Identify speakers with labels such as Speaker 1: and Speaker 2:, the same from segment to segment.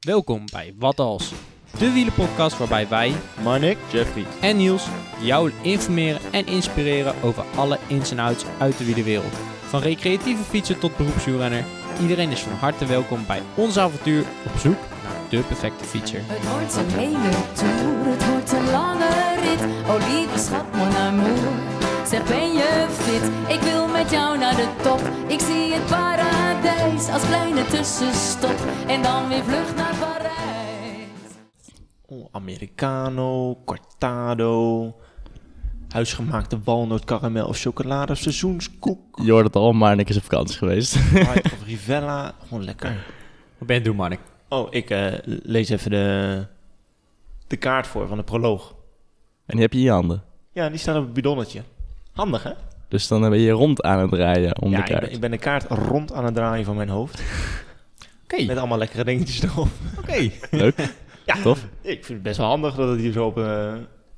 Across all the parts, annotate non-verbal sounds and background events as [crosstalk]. Speaker 1: Welkom bij Wat Als, de wielenpodcast waarbij wij
Speaker 2: Marnik, Jeffrey.
Speaker 1: en Niels jou informeren en inspireren over alle ins en outs uit de wielerwereld. Van recreatieve fietsen tot beroepswielrenner, iedereen is van harte welkom bij ons avontuur op zoek naar de perfecte fietser.
Speaker 3: Het wordt een hele toer, het wordt een lange rit. Oh lieve schat, mon amour, zeg ben je fit? Ik wil met jou naar de top. Ik zie het paradijs als kleine tussenstop. En dan weer vlug naar Parijs.
Speaker 2: Oh, Americano, cortado, huisgemaakte walnoot, karamel of chocolade, seizoenskoek, [laughs]
Speaker 4: Je hoort het al, maar ik is op vakantie geweest. [laughs]
Speaker 2: white of rivella. Gewoon lekker.
Speaker 1: Wat ben je doen, Mark?
Speaker 2: Oh, ik eh, lees even de, de kaart voor van de proloog.
Speaker 4: en die heb je in je handen.
Speaker 2: Ja, die staat op het bidonnetje. Handig, hè?
Speaker 4: Dus dan ben je rond aan het rijden om
Speaker 2: ja,
Speaker 4: de
Speaker 2: ik
Speaker 4: kaart.
Speaker 2: ben, ik ben de kaart rond aan het draaien van mijn hoofd.
Speaker 1: Oké,
Speaker 2: Met allemaal lekkere dingetjes erop.
Speaker 4: Leuk.
Speaker 2: [laughs] Ja.
Speaker 4: Tof.
Speaker 2: Ik vind het best wel handig dat het hier zo op, eh,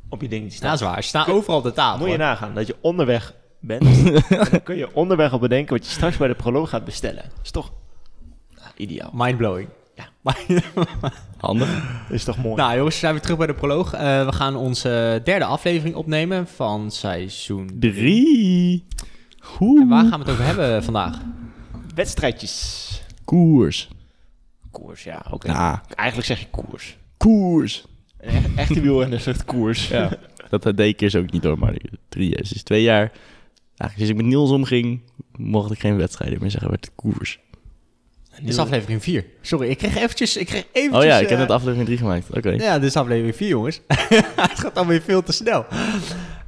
Speaker 2: op je dingetje staat.
Speaker 1: is waar. Ze staan overal op de tafel.
Speaker 2: Moet je nagaan dat je onderweg [laughs] bent. En dan kun je onderweg al bedenken wat je straks bij de proloog gaat bestellen. Is toch nou, ideaal.
Speaker 1: Mindblowing. [laughs]
Speaker 2: Ja.
Speaker 4: Handig.
Speaker 2: Is toch mooi.
Speaker 1: Nou jongens, we zijn weer terug bij de proloog. Eh, we gaan onze derde aflevering opnemen van seizoen.
Speaker 4: Drie. Hoe?
Speaker 1: gaan we het over hebben vandaag?
Speaker 2: Wedstrijdjes.
Speaker 4: Koers.
Speaker 2: Koers, ja, oké.
Speaker 4: Ja,
Speaker 2: Eigenlijk zeg je koers.
Speaker 4: koers.
Speaker 2: Een e- echte wielrenner zegt koers.
Speaker 4: Ja. Dat eh, deed ik eerst ook niet hoor, maar drie jaar. Sinds twee jaar. Eigenlijk sinds ik met Niels omging, mocht ik geen wedstrijden meer zeggen. werd het koers. Oh
Speaker 2: En
Speaker 1: Dit is
Speaker 2: nu-
Speaker 1: aflevering 4. Sorry, ik kreeg eventjes... Ik kreeg eventjes
Speaker 4: Oh ja, ik
Speaker 1: eh,
Speaker 4: heb net aflevering drie gemaakt. Oké.
Speaker 1: Ja, dit is aflevering 4, jongens. [laughs] Het gaat alweer veel te snel.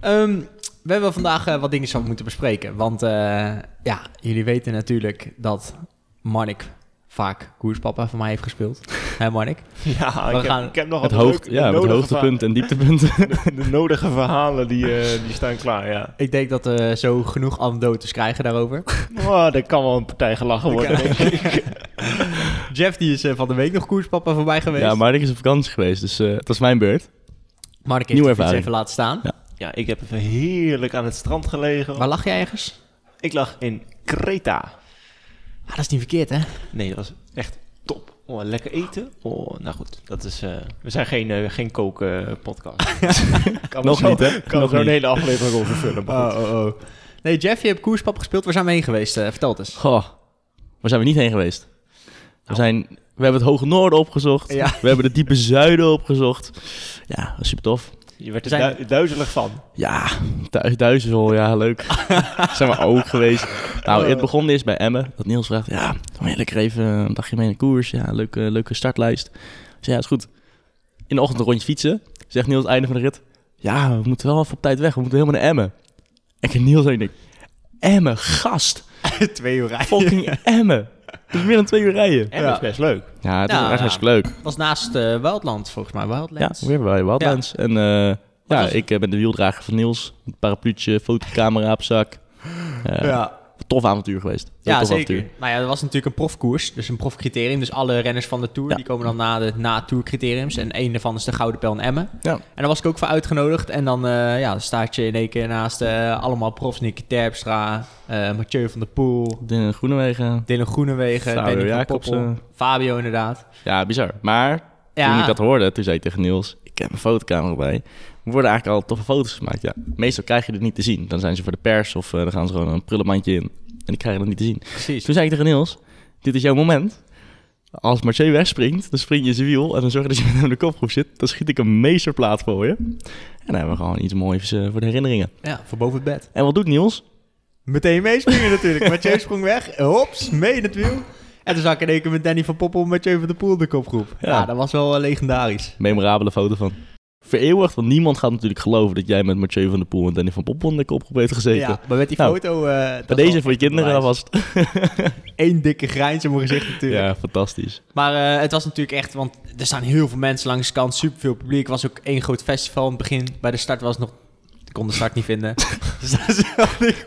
Speaker 1: Ehm, we hebben vandaag eh, wat dingen zo moeten bespreken. Want eh, ja, jullie weten natuurlijk dat Marnik vaak koerspapa van mij heeft gespeeld.
Speaker 4: [laughs]
Speaker 1: Hé Marnik?
Speaker 2: Ja,
Speaker 1: We
Speaker 2: ik,
Speaker 1: gaan-
Speaker 2: heb, ik heb nog
Speaker 4: Het
Speaker 2: wat
Speaker 4: hoogte,
Speaker 2: leuke-
Speaker 4: ja, met
Speaker 2: nodige
Speaker 4: hoogtepunten
Speaker 2: [laughs]
Speaker 4: en dieptepunten.
Speaker 2: verha- De nodige verhalen die, eh, die staan klaar, ja.
Speaker 1: Ik denk dat we zo genoeg anekdotes krijgen daarover.
Speaker 2: Oh, daar kan wel een partij gelachen worden.
Speaker 1: Jeff die is eh, van de week nog koerspapa voor mij geweest.
Speaker 4: ja, maar ik is op vakantie geweest, dus eh, het was mijn beurt.
Speaker 1: Marnik heeft
Speaker 4: nieuwe
Speaker 1: de fiets
Speaker 4: ervaring.
Speaker 1: even laten staan.
Speaker 2: Ja, ik heb even heerlijk aan het strand gelegen.
Speaker 1: Waar lag jij ergens?
Speaker 2: Ik lag in Kreta.
Speaker 1: Ah, dat is niet verkeerd, hè?
Speaker 2: Nee, dat was echt top. Oh, lekker eten. Oh, nou goed, dat is. eh, we zijn geen, eh, geen [laughs] koken-podcast.
Speaker 4: Nog niet, hè?
Speaker 2: Ik kan er
Speaker 4: Nog
Speaker 2: zo'n
Speaker 4: niet.
Speaker 2: hele aflevering over vullen. Maar goed.
Speaker 1: oh, oh. Nee, Jeff, je hebt koerspapa gespeeld. Waar zijn we heen geweest? Eh, vertel het eens.
Speaker 4: Goh, waar zijn we niet heen geweest? We, zijn, we hebben het Hoge Noorden opgezocht.
Speaker 1: Ja.
Speaker 4: We hebben het Diepe Zuiden opgezocht. Ja, super tof.
Speaker 2: Je werd er
Speaker 1: Zijn-
Speaker 2: du- duizelig van.
Speaker 4: Ja, thuis, Duizel, ja, leuk. zijn we ook geweest. Nou, het begon eerst bij Emmen. Dat Niels vraagt, ja, wil je lekker even een dagje mee naar de koers? Ja, leuke, leuke startlijst. Ik zei, ja, is goed. In de ochtend een rondje fietsen. Zegt Niels, einde van de rit. Ja, we moeten wel even op tijd weg. We moeten helemaal naar Emmen. En ik Niels en ik denk, Emmen, gast.
Speaker 1: [laughs] Twee uur rijden.
Speaker 4: Fucking Emmen. Dat is meer dan twee uur rijden.
Speaker 2: En
Speaker 1: Ja.
Speaker 2: dat is best leuk.
Speaker 4: Ja, het is
Speaker 1: Nou,
Speaker 4: echt
Speaker 1: ja.
Speaker 4: hartstikke leuk.
Speaker 1: was naast eh, Wildland, volgens mij. Wildlands.
Speaker 4: Ja, weer bij Wildlands. En eh,
Speaker 1: Wat
Speaker 4: ja,
Speaker 1: was-
Speaker 4: ik eh, ben de wieldrager van Niels. Een parapluutje, fotocamera op zak. Eh,
Speaker 1: ja.
Speaker 4: Tof avontuur geweest. Heel
Speaker 1: ja
Speaker 4: tof
Speaker 1: zeker.
Speaker 4: avontuur.
Speaker 1: Nou ja, dat was natuurlijk een profkoers. Dus een profcriterium. Dus alle renners van de Tour,
Speaker 4: Ja.
Speaker 1: die komen dan na de na Tour-criteriums. En één daarvan is de Gouden Pijl in Emmen.
Speaker 4: Ja.
Speaker 1: En daar was ik ook voor uitgenodigd. En dan eh, ja, dan staat je in één keer naast eh, allemaal profs. Nicky Terpstra, eh, Mathieu van der Poel,
Speaker 4: De Groenewegen.
Speaker 1: Dylan Groenewegen,
Speaker 4: Fabio
Speaker 1: Danny van
Speaker 4: Jacobsen.
Speaker 1: Poppel, Fabio inderdaad.
Speaker 4: Ja, bizar. Maar toen
Speaker 1: Ja,
Speaker 4: ik dat hoorde, toen zei ik tegen Niels... Ik heb een fotocamera bij. Er worden eigenlijk al toffe foto's gemaakt. Ja, meestal krijg je dit niet te zien. Dan zijn ze voor de pers of eh, dan gaan ze gewoon een prullenmandje in. En die krijgen dat niet te zien.
Speaker 1: precies.
Speaker 4: Toen zei ik tegen Niels, dit is jouw moment. Als Mathieu wegspringt, dan spring je in zijn wiel en dan zorg je dat je met hem in de kopgroep zit. Dan schiet ik een meesterplaat voor je. En dan hebben we gewoon iets moois eh, voor de herinneringen.
Speaker 1: Ja, voor boven het bed.
Speaker 4: En wat doet Niels?
Speaker 1: Meteen
Speaker 4: [laughs]
Speaker 1: meespringen natuurlijk. Mathieu sprong weg. Hops, mee in het wiel. En toen zag ik in één keer met Danny van Poppel en Mathieu van der Poel de kopgroep. Ja,
Speaker 4: Ja.
Speaker 1: dat was wel eh, legendarisch.
Speaker 4: Memorabele foto van. Vereeuwigd, want niemand gaat natuurlijk geloven dat jij met Mathieu van der Poel en Danny van Poppel in de kopgroep heeft gezeten.
Speaker 1: Ja, maar met die
Speaker 4: Nou,
Speaker 1: foto... eh, dat
Speaker 4: Maar
Speaker 1: was
Speaker 4: deze
Speaker 1: wel
Speaker 4: voor je kinderen
Speaker 1: bewijs.
Speaker 4: alvast.
Speaker 1: [laughs] Eén dikke grijns in mijn gezicht natuurlijk.
Speaker 4: Ja, fantastisch.
Speaker 1: Maar eh, het was natuurlijk echt... Want er staan heel veel mensen langs de kant. Superveel publiek. Het was ook één groot festival in het begin. Bij de start was het nog... Ik kon de start niet
Speaker 4: [laughs]
Speaker 1: vinden. dus daar zat ik,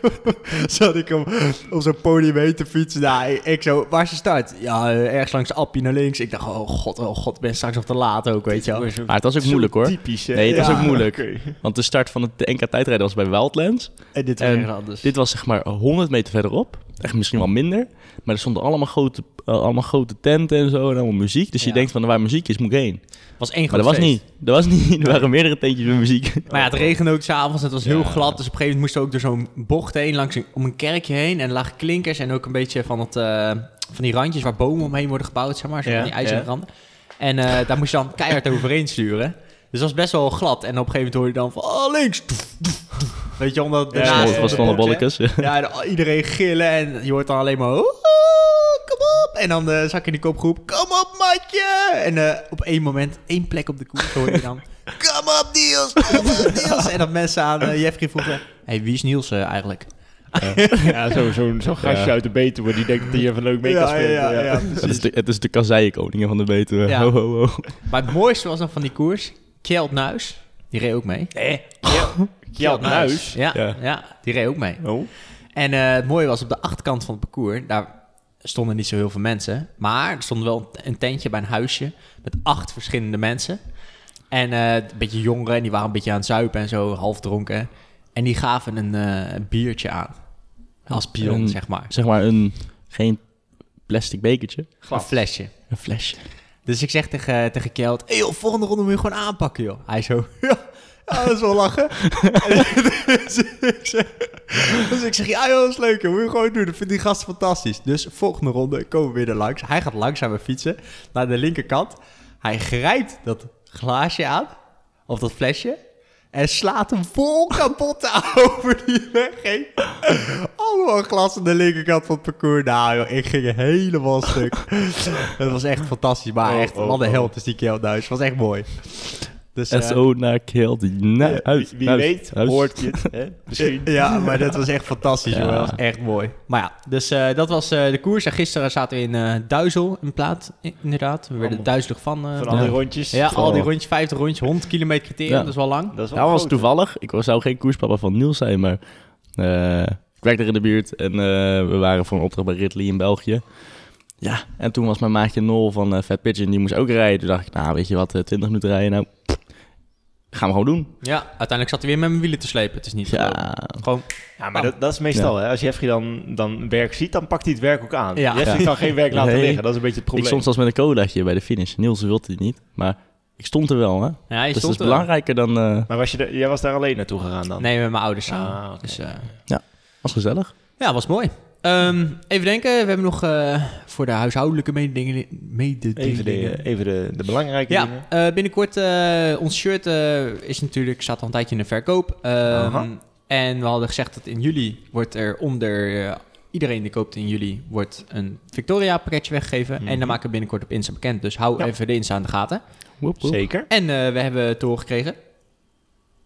Speaker 1: zat ik om, op zo'n podium heen te fietsen. Nou, ik, ik zo... Waar is de start? Ja, eh, ergens langs Appie naar links. Ik dacht, oh god, oh god. Ik ben straks nog te laat ook, weet je wel.
Speaker 2: Zo-
Speaker 4: Maar het was ook
Speaker 2: zo
Speaker 4: moeilijk hoor.
Speaker 2: Typisch, hè?
Speaker 4: Nee, het was
Speaker 1: Ja.
Speaker 4: ook moeilijk.
Speaker 2: Oké.
Speaker 4: Want de start van het NK tijdrijden was bij Wildlands.
Speaker 1: En ehm, dit
Speaker 4: En
Speaker 1: weer anders.
Speaker 4: Dit was zeg maar 100 meter verderop. Echt misschien wel minder. Maar er stonden allemaal grote, eh, allemaal grote tenten en zo. En allemaal muziek. Dus je
Speaker 1: Ja.
Speaker 4: denkt van waar muziek is, moet ik heen.
Speaker 1: was één
Speaker 4: Maar
Speaker 1: groot
Speaker 4: dat was
Speaker 1: feest.
Speaker 4: niet. Dat was niet. [laughs] Er waren meerdere tentjes met muziek.
Speaker 1: [laughs] Maar ja, het regende ook s'avonds. Het was heel
Speaker 4: Ja.
Speaker 1: glad. Dus op een gegeven moment moesten we ook door zo'n bocht heen. Langs een, om een kerkje heen. En er lagen klinkers. En ook een beetje van, het, eh, van die randjes waar bomen omheen worden gebouwd. Zeg maar. Zo
Speaker 2: Ja,
Speaker 1: van die ijzeren
Speaker 2: ja.
Speaker 1: randen. En eh, daar moest je dan keihard overheen sturen. Dus dat was best wel glad. En op een gegeven moment hoor je dan van... Oh, links! Weet je, omdat...
Speaker 2: Ja,
Speaker 1: daarnaast
Speaker 2: ja,
Speaker 4: [laughs] het was
Speaker 1: de
Speaker 4: dan een
Speaker 1: bocht, hè.
Speaker 4: bollekes.
Speaker 1: Ja, en iedereen gillen en je hoort dan alleen maar... "Oh, kom op! En dan eh, zak je in die kopgroep... Kom op, matje! En eh, op één moment, één plek op de koers hoor je dan... Kom op, Niels! Kom op, Niels! En dat mensen aan eh, Jeffrey vroegen... hey, wie is Niels eh, eigenlijk?
Speaker 2: [laughs] Ja, zo'n zo, [laughs] zo'n gastje
Speaker 4: Ja.
Speaker 2: uit de Betuwe die denkt dat je even leuk mee kan spelen.
Speaker 4: [laughs] Het is de, het is de kazeienkoningen van de Betuwe.
Speaker 1: Ja.
Speaker 4: Ho, ho, ho.
Speaker 1: Maar het mooiste was dan van die koers... Kjeld Nuis, die reed ook mee.
Speaker 2: Kjeld Nuis.
Speaker 1: Ja,
Speaker 4: Ja.
Speaker 1: ja. die reed ook mee.
Speaker 2: Oh.
Speaker 1: En eh, het mooie was, op de achterkant van het parcours... daar stonden niet zo heel veel mensen. Maar er stond wel een tentje bij een huisje... met acht verschillende mensen... En eh, een beetje jongeren, en die waren een beetje aan het zuipen en zo, half dronken. En die gaven een eh, biertje aan. Als pion,
Speaker 4: Een-
Speaker 1: zeg maar.
Speaker 4: Zeg maar een... Geen plastic bekertje.
Speaker 1: Een flesje.
Speaker 4: Een flesje.
Speaker 1: Dus ik zeg tegen, tegen Kjeld, hey joh, volgende ronde moet je gewoon aanpakken, joh. Hij zo, [laughs] ja, ja, dat is wel lachen. [laughs] dus, ik zeg, dus ik zeg, ja joh, dat is leuk, joh. moet je gewoon doen. Dat vindt die gast fantastisch. Dus volgende ronde komen we weer er langs. Hij gaat langzaam weer fietsen naar de linkerkant. Hij grijpt dat glaasje aan, of dat flesje. En slaat hem vol kapot [laughs] aan over die weg heen. Allemaal glas aan de linkerkant van het parcours. Nou joh, ik ging helemaal stuk. Het was echt fantastisch. Maar
Speaker 2: Oh,
Speaker 1: echt,
Speaker 2: oh,
Speaker 1: wat een
Speaker 2: oh.
Speaker 1: held is die Kjeld Nuis. Was echt mooi. Dus, eh,
Speaker 4: SO naar Kjeld. Nou, huis,
Speaker 2: Wie
Speaker 4: huis,
Speaker 2: weet,
Speaker 4: huis.
Speaker 2: hoort je het. [laughs] Hè? Misschien.
Speaker 1: Ja, maar dat was echt fantastisch,
Speaker 4: Ja.
Speaker 1: joh. Dat was echt mooi. Maar ja, dus eh, dat was eh, de koers. En gisteren zaten we in eh, Duizel, in plaat, i- inderdaad. We werden
Speaker 2: Allemaal.
Speaker 1: duizelig van. eh,
Speaker 2: Van al die
Speaker 4: Ja.
Speaker 2: rondjes.
Speaker 1: ja, al die
Speaker 4: Vooral.
Speaker 1: rondjes, 50 rondjes, 100 kilometer criterium.
Speaker 4: Ja.
Speaker 1: Dat is wel lang.
Speaker 2: Dat is wel
Speaker 4: Nou, was
Speaker 2: groot,
Speaker 4: toevallig. Ik was- zou geen koerspapa van Niels zijn, maar eh, ik werkte er in de buurt en eh, we waren voor een opdracht bij Ridley in België. Ja, en toen was mijn maatje Nol van eh, Fat Pigeon, die moest ook rijden. Toen dacht ik, nou weet je wat, eh, 20 minuten rijden, nou gaan we gewoon doen.
Speaker 1: Ja, uiteindelijk zat hij weer met mijn wielen te slepen. Het is niet zo.
Speaker 4: Ja,
Speaker 1: Gewoon,
Speaker 2: hè. Ja, maar
Speaker 4: Ah.
Speaker 2: dat, dat is meestal. Hè? Als Jeffrey dan, dan werk ziet, dan pakt hij het werk ook aan.
Speaker 1: Ja.
Speaker 2: Jeffrey
Speaker 4: Ja.
Speaker 2: kan geen werk [laughs] laten
Speaker 4: Nee.
Speaker 2: liggen. Dat is een beetje het
Speaker 4: ik
Speaker 2: probleem.
Speaker 4: stond zelfs met een colaatje bij de finish. Niels wilde het niet, maar ik stond er wel. Hè?
Speaker 1: ja, je
Speaker 4: dus dat
Speaker 1: stond
Speaker 4: is
Speaker 1: er.
Speaker 4: belangrijker dan... eh
Speaker 2: Maar was je er- jij was daar alleen naartoe gegaan dan?
Speaker 1: Nee, met mijn ouders samen.
Speaker 2: Ah, oké.
Speaker 1: Dus, eh,
Speaker 4: was gezellig.
Speaker 1: ja, was mooi. Ehm, even denken, we hebben nog eh, voor de huishoudelijke mededelingen.
Speaker 2: Even de,
Speaker 1: mededelingen.
Speaker 2: even de, de belangrijke
Speaker 1: Ja,
Speaker 2: dingen.
Speaker 1: eh, binnenkort eh, ons shirt eh, is natuurlijk, staat al een tijdje in de verkoop. Ehm,
Speaker 2: Aha.
Speaker 1: en we hadden gezegd dat in juli wordt er onder eh, iedereen die koopt in juli wordt een Victoria pakketje weggegeven. En
Speaker 2: Mhm.
Speaker 1: dan maken we binnenkort op Insta bekend. Dus hou
Speaker 2: Ja.
Speaker 1: even de Insta aan de gaten.
Speaker 4: Woep, woep.
Speaker 2: Zeker.
Speaker 1: En eh, we hebben te horen gekregen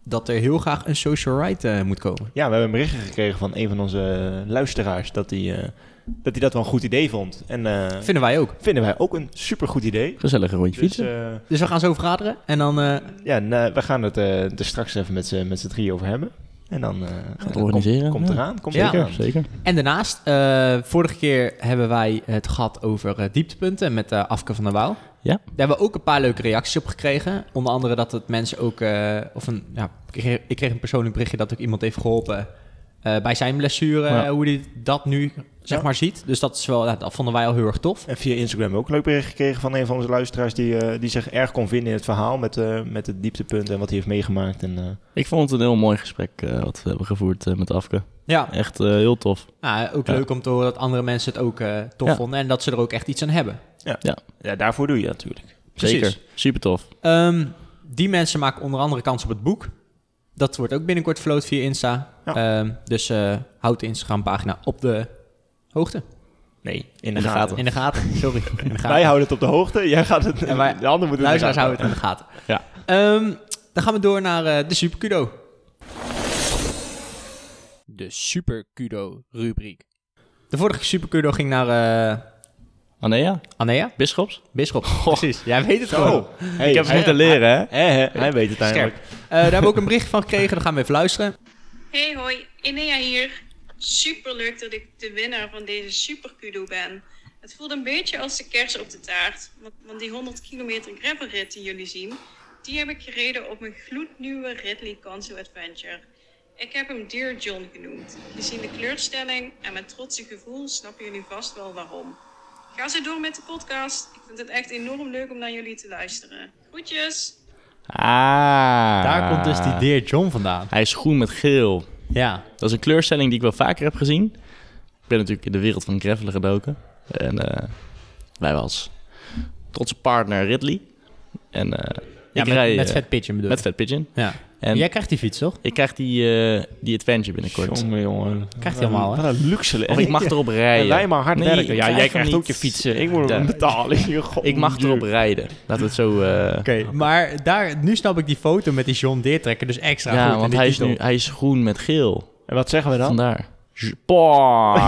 Speaker 1: dat er heel graag een social ride eh, moet komen.
Speaker 2: Ja, we hebben berichten gekregen van een van onze luisteraars dat hij eh, dat, hij dat wel een goed idee vond. En eh,
Speaker 1: Vinden wij ook.
Speaker 2: vinden wij ook een supergoed idee.
Speaker 4: Gezellig een rondje
Speaker 2: Dus
Speaker 4: fietsen.
Speaker 2: eh,
Speaker 1: Dus we gaan zo vergaderen en dan... eh,
Speaker 2: ja, nou, we gaan het eh, er straks even met z'n met z'n drieën over hebben. En dan eh,
Speaker 4: het organiseren,
Speaker 2: Komt, komt
Speaker 4: ja.
Speaker 2: eraan. Komt
Speaker 1: Ja.
Speaker 2: eraan.
Speaker 4: Zeker, zeker.
Speaker 1: En daarnaast, eh, vorige keer hebben wij het gehad over eh, dieptepunten met eh, Afke van der Waal.
Speaker 4: Ja.
Speaker 1: Daar hebben we ook een paar leuke reacties op gekregen. Onder andere dat het mensen ook, eh, of een, ja, ik kreeg, ik kreeg een persoonlijk berichtje dat ook iemand heeft geholpen eh, bij zijn blessure,
Speaker 4: Ja.
Speaker 1: eh, hoe hij dat nu zeg
Speaker 2: Ja.
Speaker 1: maar ziet. Dus dat is wel, ja, dat vonden wij al heel erg tof.
Speaker 2: En via Instagram ook een leuk bericht gekregen van een van onze luisteraars die, eh, die zich erg kon vinden in het verhaal met, eh, met het dieptepunt en wat hij heeft meegemaakt. En, eh,
Speaker 4: Ik vond het een heel mooi gesprek eh, wat we hebben gevoerd eh, met Afke.
Speaker 1: Ja,
Speaker 4: Echt eh, heel tof.
Speaker 1: nou, ook
Speaker 4: Ja.
Speaker 1: leuk om te horen dat andere mensen het ook eh, tof
Speaker 4: Ja.
Speaker 1: vonden en dat ze er ook echt iets aan hebben.
Speaker 2: ja, daarvoor doe je dat natuurlijk.
Speaker 1: Precies.
Speaker 4: Zeker. Super tof.
Speaker 1: Ehm, die mensen maken onder andere kans op het boek. Dat wordt ook binnenkort float via Insta. Ehm, dus eh, houd de Instagram-pagina op de hoogte.
Speaker 2: Nee, in de,
Speaker 4: de
Speaker 2: gaten. [laughs]
Speaker 4: gaten.
Speaker 1: In de gaten, sorry. In de
Speaker 2: Wij
Speaker 1: gaten.
Speaker 2: houden het op de hoogte, jij gaat het,
Speaker 1: En wij-
Speaker 2: de ander moet het
Speaker 1: Luisteraars
Speaker 2: in de
Speaker 1: houden het in de gaten.
Speaker 4: Ja.
Speaker 1: Ehm, dan gaan we door naar eh, de Super Kudo. De Super Kudo rubriek. De vorige Super Kudo ging naar eh
Speaker 4: Anea,
Speaker 1: Annea
Speaker 4: Bisschops.
Speaker 1: Bisschop. Precies, jij weet het
Speaker 2: gaten.
Speaker 1: gewoon.
Speaker 2: Oh, hey,
Speaker 4: ik heb het
Speaker 2: hij,
Speaker 4: moeten leren, hè?
Speaker 2: hè, hè, hij weet het
Speaker 1: Scherp.
Speaker 2: eigenlijk.
Speaker 1: Eh, daar hebben we ook een bericht van gekregen, daar gaan we even luisteren.
Speaker 5: Hey hoi, Inea hier. Super leuk dat ik de winnaar van deze super kudo ben. Het voelt een beetje als de kers op de taart. Want, want die 100 kilometer gravelrit die jullie zien, die heb ik gereden op mijn gloednieuwe Ridley Conso Adventure. Ik heb hem Dear John genoemd. Gezien de kleurstelling en mijn trotse gevoel snappen jullie vast wel waarom. Ga zo door met de podcast. Ik vind het echt enorm leuk om naar jullie te luisteren. Groetjes!
Speaker 4: Ah.
Speaker 1: Daar komt dus die Dear John vandaan.
Speaker 4: Hij is groen met geel.
Speaker 1: Ja.
Speaker 4: Dat is een kleurstelling die ik wel vaker heb gezien. Ik ben natuurlijk in de wereld van gravelen gedoken. En eh, wij waren als trotse partner Ridley. En eh,
Speaker 1: Ja,
Speaker 4: ik
Speaker 1: met,
Speaker 4: rij,
Speaker 1: met
Speaker 4: eh,
Speaker 1: Vet Pigeon bedoel
Speaker 4: met
Speaker 1: ik.
Speaker 4: Fat Pigeon.
Speaker 1: Ja.
Speaker 4: En-
Speaker 1: Jij krijgt die fiets, toch?
Speaker 4: Ik krijg die, eh, die adventure binnenkort.
Speaker 2: Jongen, jongen.
Speaker 1: Krijgt hij allemaal, hè?
Speaker 2: Wat een luxe leven.
Speaker 4: Of ik
Speaker 2: [laughs]
Speaker 4: mag erop
Speaker 2: En
Speaker 4: rijden.
Speaker 2: wij maar hard
Speaker 4: Nee,
Speaker 2: werken.
Speaker 4: ik
Speaker 2: Ja,
Speaker 4: krijg
Speaker 2: jij
Speaker 4: hem
Speaker 2: krijgt ook
Speaker 4: niet.
Speaker 2: je fietsen. Ik moet hem
Speaker 4: Ja.
Speaker 2: betalen. God,
Speaker 4: eh, Ik mag
Speaker 2: duur.
Speaker 4: erop rijden. Laten we het
Speaker 2: [laughs]
Speaker 4: zo... eh,
Speaker 1: Oké, maar daar, nu snap ik die foto met die John Deertrekker dus extra
Speaker 4: ja,
Speaker 1: goed. in
Speaker 4: want
Speaker 1: die
Speaker 4: hij is,
Speaker 1: titel.
Speaker 4: nu, hij is groen met geel.
Speaker 2: En wat zeggen we dan?
Speaker 4: Vandaar. Japon.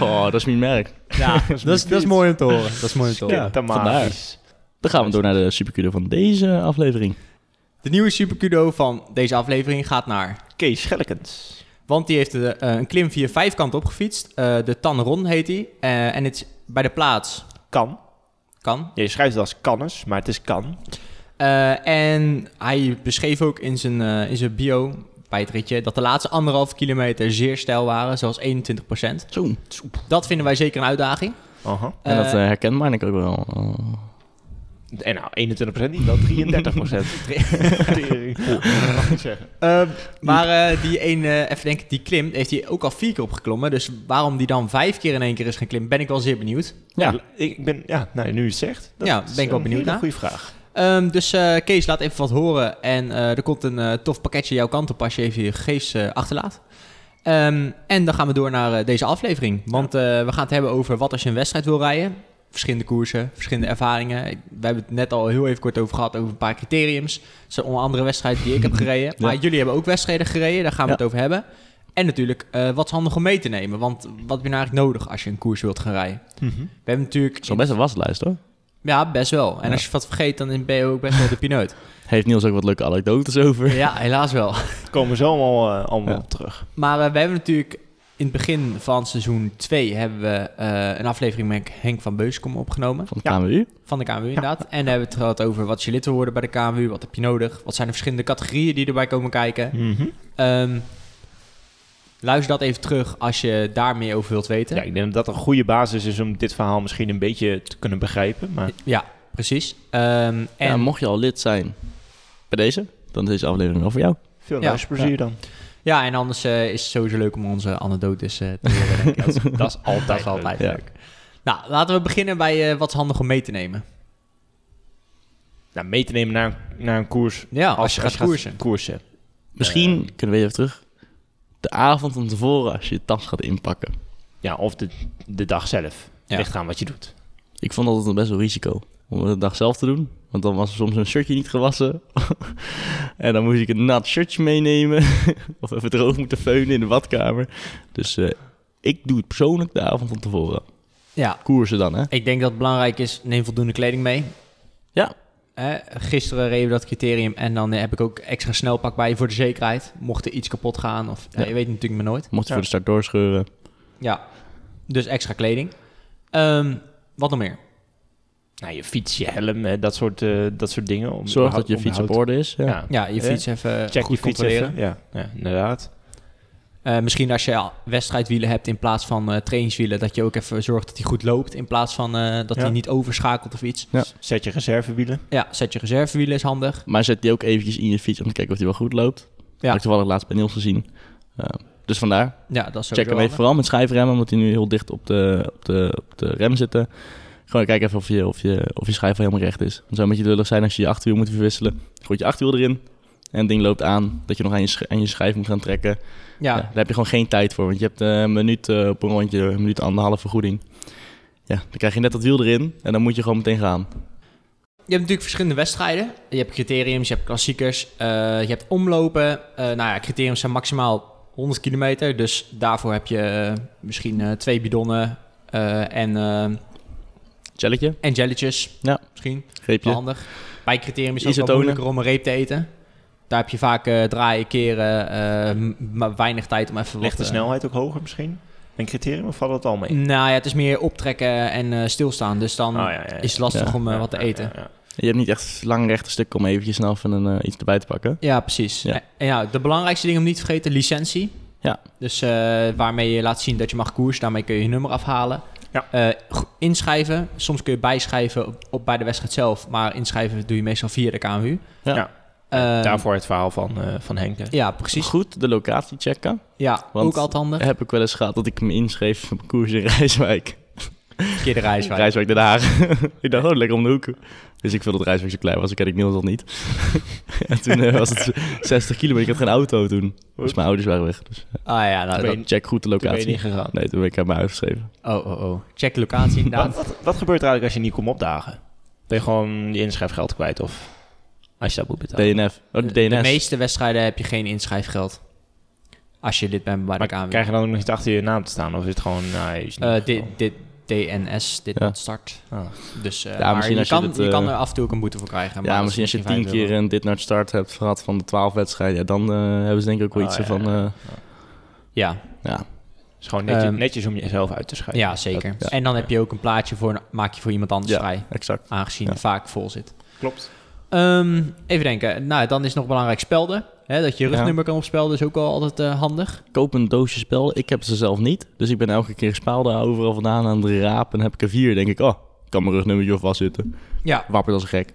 Speaker 4: Oh, dat is mijn merk. [laughs]
Speaker 1: Ja, dat is, dat is mooi om te horen. Dat is mooi om te horen.
Speaker 2: Ja, te
Speaker 4: vandaar.
Speaker 2: magisch.
Speaker 4: Dan gaan we door naar de supercudo van deze aflevering.
Speaker 1: De nieuwe Supercudo van deze aflevering gaat naar...
Speaker 2: Kees Schellekens.
Speaker 1: Want die heeft de, eh, een klim via vijf kant opgefietst. Eh de Tanron heet die. Eh, en het is bij de plaats
Speaker 2: Kan.
Speaker 1: kan.
Speaker 2: Ja, je schrijft het als kannes, maar het is kan.
Speaker 1: Eh, en hij beschreef ook in zijn, eh, in zijn bio bij het ritje... dat de laatste anderhalf kilometer zeer steil waren, zoals 21
Speaker 4: Zo.
Speaker 1: Dat vinden wij zeker een uitdaging.
Speaker 2: Aha.
Speaker 4: En dat
Speaker 1: Eh,
Speaker 4: eh, herkent Marnik ook wel. Oh.
Speaker 2: En nou, 21% niet, dan 33%. [laughs]
Speaker 4: eh,
Speaker 1: [laughs]
Speaker 2: Tering. Oeh, dat mag ik niet zeggen.
Speaker 1: Ehm, maar eh, die een, eh, even denken, die klim heeft hij ook al vier keer opgeklommen. Dus waarom die dan vijf keer in één keer is gaan klimmen, ben ik wel zeer benieuwd.
Speaker 4: Ja.
Speaker 2: Ik ben, ja, nou, nu je het zegt. dat
Speaker 1: Ja, ben
Speaker 2: is
Speaker 1: ik wel
Speaker 2: een
Speaker 1: benieuwd
Speaker 2: hele
Speaker 1: naar.
Speaker 2: goede vraag.
Speaker 1: Ehm, dus eh, Kees, laat even wat horen. En eh, er komt een eh, tof pakketje jouw kant op als je even je gegevens eh, achterlaat. Ehm, en dan gaan we door naar eh, deze aflevering. Want eh, we gaan het hebben over wat als je een wedstrijd wil rijden. Verschillende koersen, verschillende ervaringen. Ik- we hebben het net al heel even kort over gehad, over een paar criteriums. Zo onder andere wedstrijden die ik heb gereden. Maar jullie hebben ook wedstrijden gereden, daar gaan we
Speaker 4: Ja.
Speaker 1: het over hebben. En natuurlijk, eh, wat is handig om mee te nemen? Want wat heb je nou eigenlijk nodig als je een koers wilt gaan rijden?
Speaker 2: Mhm.
Speaker 1: We hebben natuurlijk...
Speaker 4: Zo best een waslijst hoor.
Speaker 1: Ja, best wel. En als je wat vergeet, dan ben je ook best wel de pineut.
Speaker 4: Heeft Niels ook wat leuke anekdotes
Speaker 2: [laughs]
Speaker 4: over.
Speaker 1: Ja, helaas wel.
Speaker 2: Daar komen we zo allemaal, eh, allemaal
Speaker 4: Ja.
Speaker 2: op terug.
Speaker 1: Maar eh, we hebben natuurlijk in het begin van seizoen 2 hebben we eh, een aflevering met Henk van Beuskom opgenomen.
Speaker 4: Van de
Speaker 2: Ja.
Speaker 4: KMU.
Speaker 1: Van de KMU inderdaad. En daar hebben we het gehad over wat is je lid wil worden bij de KMU. Wat heb je nodig? Wat zijn de verschillende categorieën die erbij komen kijken?
Speaker 2: Mhm.
Speaker 1: Ehm, luister dat even terug als je daar meer over wilt weten.
Speaker 2: Ja, ik denk dat dat een goede basis is om dit verhaal misschien een beetje te kunnen begrijpen. Maar
Speaker 1: Ja, precies. Ehm, en
Speaker 4: En mocht je al lid zijn bij deze, dan is deze aflevering wel voor jou.
Speaker 2: veel
Speaker 1: Ja.
Speaker 2: luisterplezier dan.
Speaker 1: Ja, en anders eh, is het sowieso leuk om onze anekdotes eh, te horen.
Speaker 2: [laughs]
Speaker 1: denk ik. Dat is- Dat is altijd, dat is altijd
Speaker 4: leuk.
Speaker 1: leuk. Nou, laten we beginnen bij eh, wat is handig om mee te nemen.
Speaker 2: Nou, mee te nemen naar, naar een koers.
Speaker 1: Ja, als, je gaat koersen.
Speaker 2: koersen.
Speaker 4: Misschien
Speaker 2: Eh.
Speaker 4: kunnen we even terug. De avond van tevoren als je je tas gaat inpakken.
Speaker 2: Ja, of de, de dag zelf.
Speaker 1: Ja.
Speaker 2: Ligt aan wat je doet.
Speaker 4: Ik vond altijd een best wel risico om het de dag zelf te doen. Want dan was er soms een shirtje niet gewassen. [laughs] en dan moest ik een nat shirtje meenemen. [laughs] of even droog moeten feunen in de badkamer. Dus eh, ik doe het persoonlijk de avond van tevoren.
Speaker 1: Ja,
Speaker 4: Koersen dan, hè?
Speaker 1: ik denk dat het belangrijk is, neem voldoende kleding mee.
Speaker 4: Ja.
Speaker 1: Hè, gisteren reden we dat criterium en dan eh, heb ik ook extra snelpak bij voor de zekerheid. Mocht er iets kapot gaan of ja,
Speaker 4: Ja.
Speaker 1: je weet natuurlijk maar nooit.
Speaker 4: Mocht
Speaker 2: Ja.
Speaker 4: je voor de start doorscheuren.
Speaker 1: Ja, dus extra kleding. Ehm, wat nog meer?
Speaker 2: Nou, je fiets, je helm, hè, dat, soort, eh, dat soort dingen. Om,
Speaker 4: Zorg dat je fiets op
Speaker 2: onderhoud-
Speaker 4: orde is. Ja.
Speaker 2: Ja.
Speaker 1: Ja, je
Speaker 2: Hè?
Speaker 1: fiets even
Speaker 2: Check
Speaker 1: goed
Speaker 2: je fiets
Speaker 1: controleren.
Speaker 2: even. Ja. ja, inderdaad.
Speaker 1: Eh, misschien als je ja, wedstrijdwielen hebt in plaats van eh, trainingswielen, dat je ook even zorgt dat hij goed loopt in plaats van eh, dat
Speaker 2: Ja.
Speaker 1: hij niet overschakelt of iets.
Speaker 4: Ja.
Speaker 2: Zet je reservewielen.
Speaker 1: Ja, zet je reservewielen is handig.
Speaker 4: Maar zet die ook eventjes in je fiets om te kijken of die wel goed loopt.
Speaker 1: Ja.
Speaker 4: Heb ik toevallig laatst bij Niels gezien. Eh, dus vandaar.
Speaker 1: Ja, dat is
Speaker 4: Check
Speaker 1: sowieso
Speaker 4: hem even
Speaker 1: handig.
Speaker 4: vooral met schijfremmen, omdat die nu heel dicht op de, op de, op de rem zitten. Gewoon kijken even of je, of, je, of je schijf helemaal recht is. Het zou een beetje lullig zijn als je je achterwiel moet verwisselen. Gooit je achterwiel erin en het ding loopt aan. Dat je nog aan je, sch- aan je schijf moet gaan trekken.
Speaker 1: Ja,
Speaker 4: Ja. daar heb je gewoon geen tijd voor, want je hebt eh, een minuut eh, op een rondje, een minuut anderhalf vergoeding. Ja, dan krijg je net dat wiel erin en dan moet je gewoon meteen gaan.
Speaker 1: Je hebt natuurlijk verschillende wedstrijden. Je hebt criteriums, je hebt klassiekers, eh, je hebt omlopen. Eh, nou ja, criteriums zijn maximaal 100 kilometer. Dus daarvoor heb je eh, misschien eh, twee bidonnen eh, en, eh,
Speaker 4: Challetje,
Speaker 1: en jelletjes.
Speaker 4: Ja.
Speaker 1: Misschien, wel
Speaker 4: greepje.
Speaker 1: handig. Bij criterium is het ook wel
Speaker 4: Isotonen.
Speaker 1: moeilijker om een reep te eten. Daar heb je vaak eh, draaien, keren, eh, m- maar weinig tijd om even
Speaker 2: Ligt de
Speaker 1: wat... eh,
Speaker 2: snelheid ook hoger misschien? Een criterium of valt dat al mee?
Speaker 1: Nou ja, het is meer optrekken en eh, stilstaan. Dus dan
Speaker 2: Oh, ja, ja, ja.
Speaker 1: is het lastig
Speaker 4: Ja.
Speaker 1: om eh,
Speaker 2: Ja,
Speaker 1: wat te
Speaker 2: ja,
Speaker 1: eten.
Speaker 2: ja, ja.
Speaker 4: Je hebt niet echt lang rechte stuk om eventjes snel even een, eh, iets erbij te pakken.
Speaker 1: Ja, precies.
Speaker 4: Ja.
Speaker 1: En ja, de belangrijkste ding om niet te vergeten, licentie.
Speaker 4: Ja.
Speaker 1: Dus eh, waarmee je laat zien dat je mag koersen, daarmee kun je je nummer afhalen.
Speaker 2: Ja.
Speaker 1: Eh, go- inschrijven, soms kun je bijschrijven op, op bij de wedstrijd zelf, maar inschrijven doe je meestal via de KMU.
Speaker 4: Ja.
Speaker 2: Ja.
Speaker 1: Eh,
Speaker 2: Daarvoor het verhaal van, eh, van Henk. hè.
Speaker 1: Ja, precies.
Speaker 4: Goed, de locatie checken.
Speaker 1: Ja,
Speaker 4: Want-
Speaker 1: ook altijd
Speaker 4: [laughs]
Speaker 1: handig.
Speaker 4: Heb ik wel eens gehad dat ik me inschreef op een koers in Rijswijk.
Speaker 1: Verkeerde reiswijze.
Speaker 4: Rijswijk Den Haag. [laughs] ik dacht, oh, lekker om de hoek. Dus ik wilde dat Rijswijk zo klein was, ik ken ik Niels al niet. [laughs] en toen eh, was
Speaker 2: [laughs]
Speaker 4: het 60 kilometer, ik had geen auto toen. Dus mijn ouders waren weg. Dus
Speaker 1: Ah ja, nou,
Speaker 4: ik
Speaker 1: dat-
Speaker 4: dacht, check goed de
Speaker 2: Toen ben je
Speaker 4: locatie.
Speaker 2: niet gegaan.
Speaker 4: Nee, toen ben ik uit mijn huis geschreven.
Speaker 1: oh, oh, oh. Check locatie inderdaad.
Speaker 2: Wat, wat, wat gebeurt er eigenlijk als je niet komt opdagen? Ben je gewoon je inschrijfgeld kwijt of als je dat moet betalen?
Speaker 4: DNF. Oh, de
Speaker 1: De, de
Speaker 4: DNS.
Speaker 1: meeste wedstrijden heb je geen inschrijfgeld. Als je dit bent bij de
Speaker 2: maar
Speaker 1: KMU.
Speaker 2: krijg je dan ook nog niet achter je naam te staan? Of is het gewoon... Nee, is niet
Speaker 1: Eh, dit,
Speaker 2: gekomen?
Speaker 1: dit DNS, dit
Speaker 4: Ja.
Speaker 1: not start.
Speaker 2: Ah.
Speaker 1: Dus eh,
Speaker 4: Ja,
Speaker 1: maar
Speaker 4: misschien
Speaker 1: je,
Speaker 4: als je
Speaker 1: kan,
Speaker 4: dat,
Speaker 1: je
Speaker 4: eh,
Speaker 1: kan er af en toe ook een boete voor krijgen.
Speaker 4: Ja,
Speaker 1: dat
Speaker 4: misschien als
Speaker 1: is
Speaker 4: je
Speaker 1: €5
Speaker 4: tien
Speaker 1: euro.
Speaker 4: keer een dit naar start hebt gehad van de twaalf wedstrijden, ja, dan eh, hebben ze denk ik ook wel
Speaker 2: Ah,
Speaker 4: iets
Speaker 2: ja,
Speaker 4: van.
Speaker 2: ja.
Speaker 4: eh,
Speaker 1: Ja,
Speaker 4: ja.
Speaker 2: Het is gewoon netjes,
Speaker 1: Ehm,
Speaker 2: netjes om jezelf uit te schrijven.
Speaker 1: ja zeker.
Speaker 4: Dat- ja.
Speaker 1: En dan heb je ook een plaatje voor, een- maak je voor iemand anders
Speaker 4: Ja,
Speaker 1: vrij.
Speaker 4: exact.
Speaker 1: Aangezien
Speaker 4: Ja.
Speaker 1: het vaak vol zit.
Speaker 2: Klopt.
Speaker 1: Ehm, even denken. Nou, dan is nog belangrijk spelden. Hè, dat je je
Speaker 4: Ja.
Speaker 1: rugnummer kan opspelden is ook wel altijd eh, handig.
Speaker 4: Koop een doosje spel. Ik heb ze zelf niet. Dus ik ben elke keer spaalden overal vandaan aan het rapen. En heb ik er vier. Denk ik, oh, ik kan mijn rugnummertje of vastzitten.
Speaker 1: Ja.
Speaker 4: Wapper als een gek.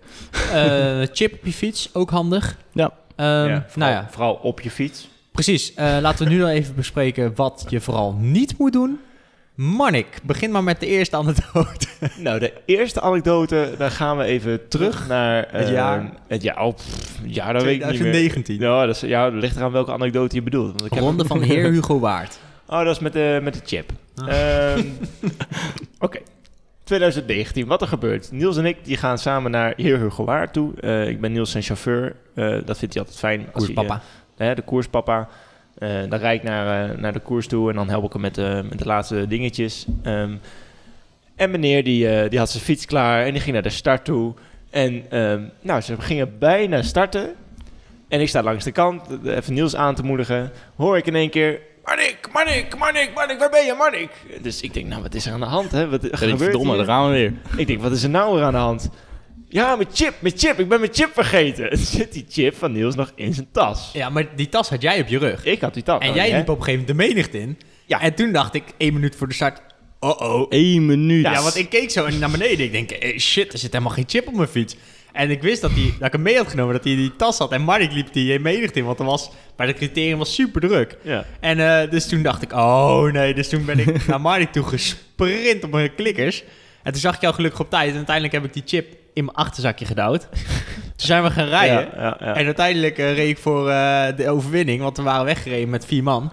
Speaker 1: Eh, [laughs] chip op je fiets, ook handig.
Speaker 4: Ja.
Speaker 1: Ehm,
Speaker 2: vooral,
Speaker 1: nou ja,
Speaker 2: vooral op je fiets.
Speaker 1: precies. Eh, laten we nu dan even bespreken wat je vooral niet moet doen. Marnik, begin maar met de eerste anekdote.
Speaker 2: Nou, de eerste anekdote, dan gaan we even terug naar...
Speaker 1: Het
Speaker 2: eh,
Speaker 1: jaar?
Speaker 2: Het jaar, oh, pff, ja, dat weet ik niet meer.
Speaker 1: 2019.
Speaker 2: Ja, dat is, ja, dat ligt eraan welke anekdote je bedoelt. Want ik heb-
Speaker 1: Ronde van Heer Hugo Waard.
Speaker 2: oh, dat is met de, met de chip.
Speaker 1: Ah.
Speaker 2: Ehm, Oké. 2019, wat er gebeurt. Niels en ik die gaan samen naar Heer Hugo Waard toe. Eh, ik ben Niels zijn chauffeur. Eh, dat vindt hij altijd fijn. Als hij, eh,
Speaker 1: Koerspapa.
Speaker 2: hè, de koerspapa. Eh, dan rijd ik naar, eh, naar de koers toe en dan help ik hem met de, met de laatste dingetjes. Ehm, en meneer die, eh, die had zijn fiets klaar en die ging naar de start toe. En ehm, nou, ze gingen bijna starten. En ik sta langs de kant, eh, even Niels aan te moedigen. Hoor ik in één keer... Marnik, Marnik, Marnik, Marnik, waar ben je, Marnik? Dus ik denk, nou, wat is er aan de hand, hè? Wat
Speaker 4: En ik
Speaker 2: gebeurt
Speaker 4: verdomme,
Speaker 2: hier?
Speaker 4: daar gaan we weer.
Speaker 2: Ik denk, wat is er nou weer aan de hand? Ja, mijn chip, mijn chip, ik ben mijn chip vergeten. [laughs] En zit die chip van Niels nog in zijn tas.
Speaker 1: Ja, maar die tas had jij op je rug.
Speaker 2: Ik had die tas.
Speaker 1: En
Speaker 2: nog
Speaker 1: jij
Speaker 2: niet, hè?
Speaker 1: liep op een gegeven moment de menigte in.
Speaker 2: Ja.
Speaker 1: En toen dacht ik, één minuut voor de start, oh, oh-oh.
Speaker 4: Eén minuut.
Speaker 1: Ja, want ik keek zo naar beneden. Ik denk, eh, shit, er zit helemaal geen chip op mijn fiets. En ik wist dat, die, dat ik hem mee had genomen, dat hij in die tas had. En Mark liep die eh, menigte in, want er was, bij de criterium was super druk.
Speaker 2: Ja.
Speaker 1: En eh, dus toen dacht ik, oh nee. Dus toen ben
Speaker 2: [laughs]
Speaker 1: ik naar Marnik toe gesprint op mijn klikkers. En toen zag ik jou gelukkig op tijd. En uiteindelijk heb ik die chip in mijn achterzakje
Speaker 2: [laughs]
Speaker 1: gedouwd. toen zijn we gaan rijden.
Speaker 2: Ja, ja, [laughs] ja.
Speaker 1: En uiteindelijk eh, reed ik voor eh, de overwinning, want we waren weggereden met vier man.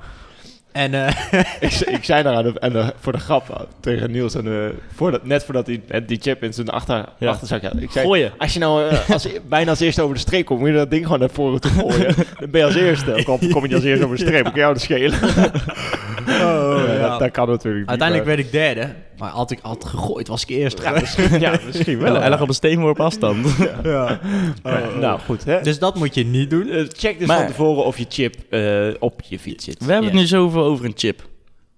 Speaker 1: En eh, [laughs]
Speaker 2: ik, ze- ik zei daar aan de, aan de- voor de grap tegen Niels, en, eh, voordat, net voordat hij eh, die chip in zijn achter,
Speaker 4: Ja.
Speaker 2: achterzak had. Ik zei,
Speaker 4: Gooien.
Speaker 2: als je nou eh, als, [laughs] bijna als eerste over de streep komt, moet je dat ding gewoon naar voren toe [laughs] gooien. Dan ben je als eerste. Ook al kom je niet als eerste over de streep, dan kan jou dat schelen. [laughs] Eh, dat, dat kan natuurlijk niet,
Speaker 1: uiteindelijk werd ik derde. Maar had ik had gegooid, was ik eerst.
Speaker 2: maar- ja, misschien, ja, misschien wel.
Speaker 4: [laughs] Hij lag op een
Speaker 1: [laughs]
Speaker 4: steenworp afstand.
Speaker 2: Nou, goed. Hè?
Speaker 1: Dus dat moet je niet doen.
Speaker 2: Eh, check dus
Speaker 4: Maar-
Speaker 2: van tevoren of je chip eh, op je fiets zit.
Speaker 4: We hebben
Speaker 1: Ja.
Speaker 4: het nu zoveel over een chip.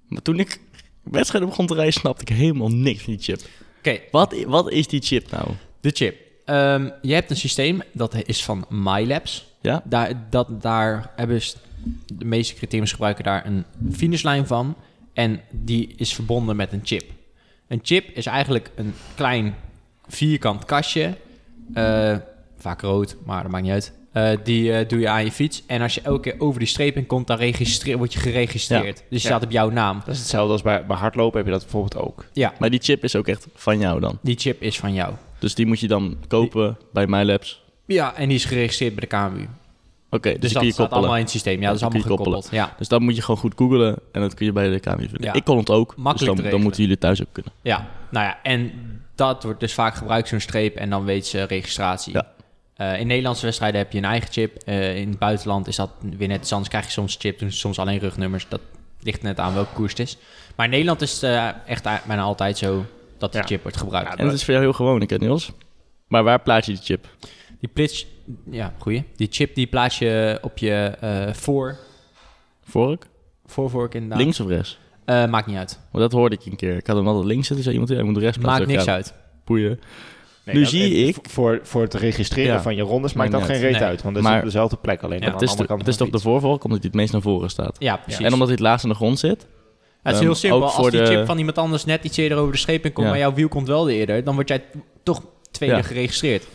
Speaker 4: Maar toen ik wedstrijden begon te rijden, snapte ik helemaal niks van die chip.
Speaker 1: Oké,
Speaker 4: Wat, i- wat is die chip nou?
Speaker 1: de chip. Ehm, je hebt een systeem, dat is van MyLabs.
Speaker 4: Ja?
Speaker 1: Daar, dat, daar hebben s- de meeste criteriums gebruiken daar een finishlijn van. En die is verbonden met een chip. Een chip is eigenlijk een klein vierkant kastje. eh, vaak rood, maar dat maakt niet uit. Eh, die eh, doe je aan je fiets. En als je elke keer over die streep in komt, dan registreer, word je geregistreerd. Dus je
Speaker 2: Ja.
Speaker 1: staat op jouw naam.
Speaker 2: Dat is hetzelfde als bij, bij hardlopen heb je dat bijvoorbeeld ook.
Speaker 1: Ja,
Speaker 4: Maar die chip is ook echt van jou dan.
Speaker 1: die chip is van jou.
Speaker 4: Dus die moet je dan kopen bij MyLabs.
Speaker 1: Ja, en die is geregistreerd bij de KMU.
Speaker 4: Oké,
Speaker 1: Dus dat
Speaker 4: dus, die kun je
Speaker 1: staat allemaal
Speaker 4: koppelen.
Speaker 1: in het systeem. Ja,
Speaker 4: Ja,
Speaker 1: dat is
Speaker 4: dat kun
Speaker 1: allemaal
Speaker 4: je
Speaker 1: gekoppeld. Ja,
Speaker 4: Dus dat moet je gewoon goed googlen en dat kun je bij de KMU vinden.
Speaker 1: Ja.
Speaker 4: Ik kon het ook,
Speaker 1: Makkelijk te
Speaker 4: dus dan,
Speaker 1: regelen.
Speaker 4: dan moeten jullie thuis ook kunnen.
Speaker 1: ja, nou ja, en dat wordt dus vaak gebruikt, zo'n streep, en dan weet ze registratie.
Speaker 4: Ja.
Speaker 1: Eh, in Nederlandse wedstrijden heb je een eigen chip. Eh, in het buitenland is dat weer net iets anders. Krijg je soms chip, doen ze soms alleen rugnummers. Dat ligt net aan welke koers het is. Maar in Nederland is het eh, echt a- bijna altijd zo dat die
Speaker 2: Ja.
Speaker 1: chip wordt gebruikt.
Speaker 2: Ja,
Speaker 4: En dat is voor jou heel gewoon, ik ken Niels. Maar waar plaats je die chip?
Speaker 1: Die plits, ja, goeie. Die chip die plaats je op je eh voor,
Speaker 4: Vork?
Speaker 1: voorvork inderdaad.
Speaker 4: Links of rechts?
Speaker 1: Eh, maakt niet uit.
Speaker 4: Want dat hoorde ik een keer. Ik had hem altijd links zitten, zei iemand, ja, je moet rechts plaatsen.
Speaker 1: Maakt niks
Speaker 4: Ja,
Speaker 1: uit.
Speaker 4: Boeien.
Speaker 2: Nee,
Speaker 4: Nu
Speaker 2: dat-
Speaker 4: zie
Speaker 2: en
Speaker 4: ik-
Speaker 2: v- Voor, voor het registreren
Speaker 4: Ja.
Speaker 2: van je rondes maakt
Speaker 4: Maakt
Speaker 2: dat geen
Speaker 4: niet
Speaker 2: reet
Speaker 1: Nee.
Speaker 2: uit. Want dat is
Speaker 4: Maar-
Speaker 2: op dezelfde plek. Alleen dan
Speaker 4: het
Speaker 2: aan de
Speaker 4: is, toch-
Speaker 2: andere kant
Speaker 4: het is
Speaker 2: van
Speaker 4: toch de voorvalk, omdat hij het meest naar voren staat.
Speaker 1: Ja, precies.
Speaker 4: En omdat hij het laatst aan de grond zit.
Speaker 1: Ja, het is
Speaker 4: Ehm,
Speaker 1: heel simpel.
Speaker 4: ook
Speaker 1: Als
Speaker 4: voor
Speaker 1: die
Speaker 4: de-
Speaker 1: chip van iemand anders net iets eerder over de scheep in komt,
Speaker 4: Ja.
Speaker 1: maar jouw wiel komt wel eerder, dan word jij t- toch tweede
Speaker 4: Ja.
Speaker 1: geregistreerd.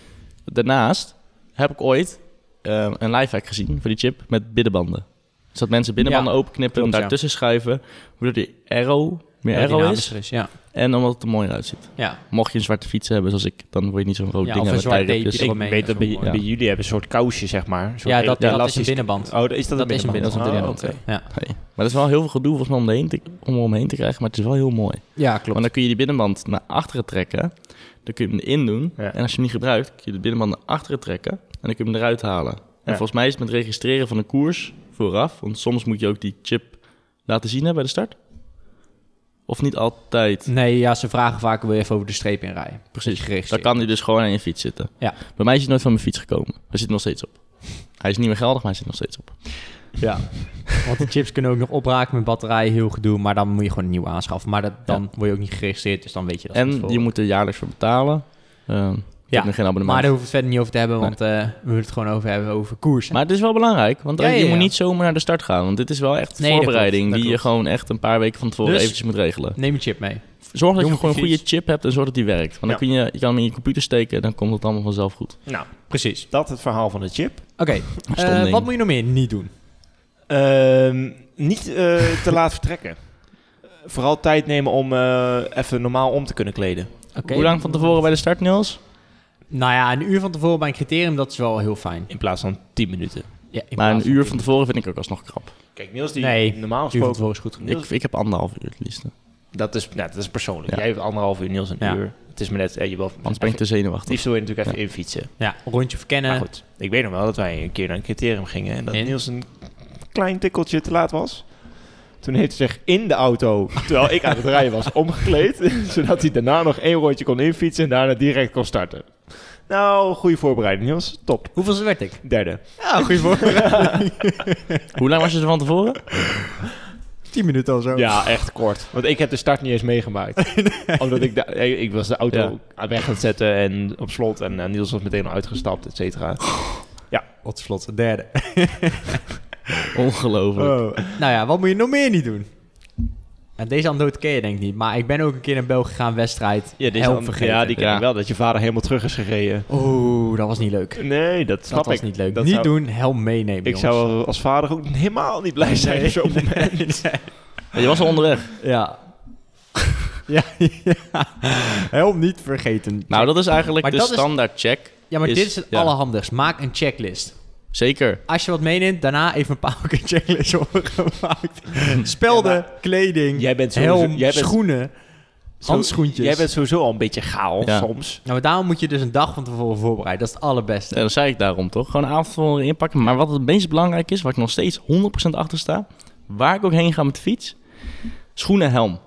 Speaker 4: Daarnaast heb ik ooit ehm, een lifehack gezien voor die chip met binnenbanden. Dus dat mensen binnenbanden
Speaker 1: Ja,
Speaker 4: openknippen,
Speaker 1: klopt,
Speaker 4: hem
Speaker 1: ja.
Speaker 4: daartussen schuiven, waardoor die arrow meer
Speaker 1: Ja,
Speaker 4: arrow is.
Speaker 1: dynamischer Ja,
Speaker 4: En omdat het er mooier uitziet.
Speaker 1: ja.
Speaker 4: Mocht je een zwarte fiets hebben zoals ik, dan word je niet zo'n rood
Speaker 1: Ja,
Speaker 4: ding
Speaker 1: of een
Speaker 4: met
Speaker 1: zwart
Speaker 4: tijdripjes.
Speaker 1: tapeje.
Speaker 2: fiets.
Speaker 1: mee,
Speaker 2: Ik weet dat bij,
Speaker 1: zo.
Speaker 4: Ja.
Speaker 2: bij jullie hebben een soort kousje, zeg maar. Een soort
Speaker 1: ja dat,
Speaker 2: el-
Speaker 1: dat is een
Speaker 2: elastisch-
Speaker 1: binnenband.
Speaker 2: Oh, is dat,
Speaker 1: Dat is een
Speaker 2: binnenband?
Speaker 1: binnenband.
Speaker 2: Ah,
Speaker 4: Dat is een
Speaker 2: oké.
Speaker 1: Ja.
Speaker 4: Nee. Maar dat is wel heel veel gedoe volgens mij om, de heen te, om hem heen te krijgen, maar het is wel heel mooi.
Speaker 1: ja, klopt.
Speaker 4: Want dan kun je die binnenband naar achteren trekken, dan kun je hem erin doen.
Speaker 2: Ja.
Speaker 4: En als je hem niet gebruikt, kun je de binnenband naar achteren trekken en dan kun je hem eruit halen. En volgens mij is het met registreren van een koers vooraf, want soms moet je ook die chip laten zien hè, bij de start. Of niet altijd.
Speaker 1: Nee, ja, ze vragen vaak wil je even over de streep in rijden. Dat je
Speaker 4: Precies. Dan
Speaker 1: geregistreerd
Speaker 4: kan hij dus gewoon aan je fiets zitten.
Speaker 1: Ja.
Speaker 4: Bij mij is hij nooit van mijn fiets gekomen. Hij zit er nog steeds op. Hij is niet meer geldig, maar hij zit nog steeds op.
Speaker 1: Ja. [laughs] Want de chips kunnen ook nog opraken met batterijen, heel gedoe. Maar dan moet je gewoon een nieuwe aanschaffen. Maar dat, dan word je ook niet geregistreerd, dus dan weet je dat. van
Speaker 4: En
Speaker 1: tevoren.
Speaker 4: je moet er jaarlijks voor betalen. Ehm ik
Speaker 1: Ja,
Speaker 4: heb nog geen abonnement.
Speaker 1: Maar daar hoeven we het verder niet over te hebben,
Speaker 4: Nee.
Speaker 1: want eh, we moeten het gewoon over hebben over koers.
Speaker 4: [laughs] Maar het is wel belangrijk, want
Speaker 1: Ja,
Speaker 4: eh, je
Speaker 1: ja, ja.
Speaker 4: moet niet zomaar naar de start gaan. Want dit is wel echt
Speaker 1: Nee, dat
Speaker 4: voorbereiding
Speaker 1: klopt, dat
Speaker 4: die je
Speaker 1: klopt.
Speaker 4: gewoon echt een paar weken van tevoren
Speaker 1: Dus-
Speaker 4: eventjes moet regelen.
Speaker 1: Neem een chip mee.
Speaker 4: Zorg dat
Speaker 1: Doe
Speaker 4: je
Speaker 1: hem
Speaker 4: gewoon een
Speaker 1: precies.
Speaker 4: goede chip hebt en zorg dat die werkt. Want dan
Speaker 2: Ja.
Speaker 4: kun je, je kan hem in je computer steken en dan komt het allemaal vanzelf goed.
Speaker 2: Nou,
Speaker 1: Precies.
Speaker 2: dat het verhaal van de chip.
Speaker 1: Oké, eh,
Speaker 4: ding.
Speaker 1: wat moet je nog meer niet doen?
Speaker 2: Ehm, niet [laughs] eh, te laat vertrekken. Vooral tijd nemen om eh, even normaal om te kunnen kleden.
Speaker 1: Oké.
Speaker 4: Hoe lang van tevoren bij de start, Niels?
Speaker 1: Nou ja, een uur van tevoren bij een criterium, dat is wel heel fijn.
Speaker 2: In plaats van 10 minuten.
Speaker 1: Ja, in
Speaker 4: Maar
Speaker 1: plaats
Speaker 4: Nou, een uur van tevoren vind ik ook alsnog krap.
Speaker 2: Kijk, Niels die
Speaker 1: Nee,
Speaker 2: normaal
Speaker 1: Een uur van
Speaker 2: gesproken...
Speaker 1: tevoren is goed genoeg.
Speaker 4: Ik, ik heb anderhalf uur het liefst.
Speaker 2: Dat is, nou, dat is persoonlijk.
Speaker 4: Ja.
Speaker 2: Jij hebt anderhalf uur, Niels een
Speaker 1: Ja.
Speaker 2: uur. Het is maar net... eh, je wil,
Speaker 4: Anders ben ik te
Speaker 2: het
Speaker 4: zenuwachtig.
Speaker 2: liefst wil je natuurlijk even infietsen.
Speaker 1: Ja, een rondje verkennen.
Speaker 2: Maar goed, ik weet nog wel dat wij een keer naar een criterium gingen... en dat
Speaker 1: En?
Speaker 2: Niels een klein tikkeltje te laat was. Toen heeft hij zich in de auto, terwijl ik aan het rijden [laughs] was, omgekleed... zodat hij daarna nog één rondje kon infietsen en daarna direct kon starten. Nou, goede voorbereiding, Niels. Top.
Speaker 1: Hoeveel werd ik?
Speaker 2: Derde.
Speaker 1: Ja, goed voor.
Speaker 4: Hoe lang was je er
Speaker 1: [laughs]
Speaker 4: van tevoren?
Speaker 1: 10 minuten of zo.
Speaker 2: Ja, echt kort. Want ik heb de start niet eens meegemaakt. [laughs] Omdat ik, de, ik ik was de auto weg aan het zetten en op slot. En eh, Niels was meteen al uitgestapt, et cetera.
Speaker 1: Wat vlot, een derde.
Speaker 4: Ongelooflijk.
Speaker 1: [laughs] Nou ja, wat moet je nog meer niet doen? En deze anekdote ken je denk ik niet, maar ik ben ook een keer naar België gegaan, wedstrijd.
Speaker 2: Ja,
Speaker 1: Helm vergeten.
Speaker 2: ja, die ken
Speaker 4: Ja.
Speaker 2: ik wel. Dat je vader helemaal terug is gereden.
Speaker 1: Oeh, dat was niet leuk.
Speaker 2: Nee, dat snap
Speaker 1: dat was
Speaker 2: ik.
Speaker 1: niet leuk.
Speaker 2: Dat
Speaker 1: niet
Speaker 2: zou-
Speaker 1: doen, helm meenemen,
Speaker 2: Ik zou als vader ook helemaal niet blij zijn [laughs] op zo'n
Speaker 1: [laughs]
Speaker 2: moment.
Speaker 4: Je was al onderweg.
Speaker 1: Ja. ja, [laughs] ja. Helm niet vergeten.
Speaker 4: Nou, dat is eigenlijk
Speaker 1: Maar
Speaker 4: de
Speaker 1: dat is-
Speaker 4: standaard check.
Speaker 1: ja, maar
Speaker 4: is-
Speaker 1: dit is het
Speaker 4: ja.
Speaker 1: allerhandigst. Maak een checklist.
Speaker 4: Zeker.
Speaker 1: Als je wat meeneemt, daarna even een paar keer checklist
Speaker 2: [laughs]
Speaker 1: opgemaakt. Spelden,
Speaker 2: Ja,
Speaker 1: kleding,
Speaker 2: Jij bent sowieso-
Speaker 1: helm,
Speaker 2: jij bent-
Speaker 1: schoenen,
Speaker 2: Zo-
Speaker 1: handschoentjes.
Speaker 2: Jij bent sowieso al een beetje gaal
Speaker 4: Ja.
Speaker 2: soms.
Speaker 1: Nou, maar daarom moet je dus een dag van tevoren voorbereiden. Dat is het allerbeste.
Speaker 4: Ja, dat zei ik daarom toch. Gewoon een avond van tevoren inpakken. Maar wat het meest belangrijk is, waar ik nog steeds 100% achter sta, waar ik ook heen ga met de fiets, schoenen en helm.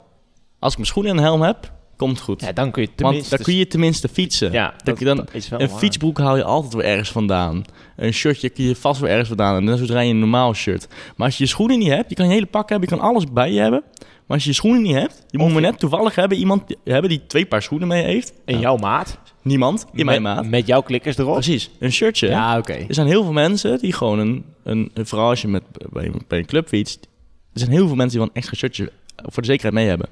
Speaker 4: Als ik mijn schoenen en helm heb, komt het goed.
Speaker 2: Ja, dan kun je
Speaker 4: Want
Speaker 2: tenminste...
Speaker 4: dan kun je tenminste fietsen.
Speaker 2: Ja,
Speaker 4: dat,
Speaker 2: dat-
Speaker 4: je dan,
Speaker 2: dat is wel
Speaker 4: een
Speaker 2: waar.
Speaker 4: fietsbroek haal je altijd weer ergens vandaan. Een shirtje kun je vast weer ergens vandaan. En dan zodra je een normaal shirt. Maar als je je schoenen niet hebt, je kan je hele pak hebben, je kan alles bij je hebben. Maar als je je schoenen niet hebt, je moet maar net toevallig hebben iemand die- hebben die twee paar schoenen mee heeft.
Speaker 2: In jouw maat.
Speaker 4: Niemand in mijn
Speaker 2: met,
Speaker 4: maat.
Speaker 2: Met jouw klikkers erop.
Speaker 4: Precies, een shirtje.
Speaker 1: Ja, oké.
Speaker 4: Er zijn heel veel mensen die gewoon een, een, een vooral als je met, bij, een- bij een club fietst, er zijn heel veel mensen die wel een extra shirtje voor de zekerheid mee hebben.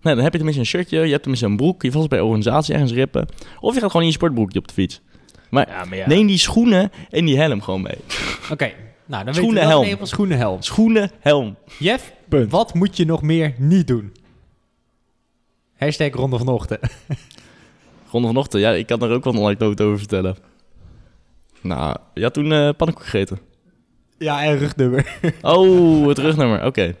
Speaker 4: Nou, dan heb je tenminste een shirtje, je hebt tenminste een broek, je valt bij een organisatie ergens rippen. Of je gaat gewoon in je sportbroekje op de fiets. Maar,
Speaker 2: Ja, maar ja.
Speaker 4: neem die schoenen en die helm gewoon mee.
Speaker 1: Oké, nou dan weten
Speaker 4: Schoenen,
Speaker 1: we wel
Speaker 4: helm.
Speaker 1: in ieder geval schoenen helm.
Speaker 4: Schoenen, helm.
Speaker 1: Jeff,
Speaker 2: Punt.
Speaker 1: wat moet je nog meer niet doen? Hashtag ronde vanochtend.
Speaker 4: Ronde vanochtend, ja, ik kan er ook wel een anekdote over vertellen. Nou, je had toen eh pannenkoek gegeten.
Speaker 1: Ja, en rugnummer.
Speaker 4: Oh, het rugnummer, oké.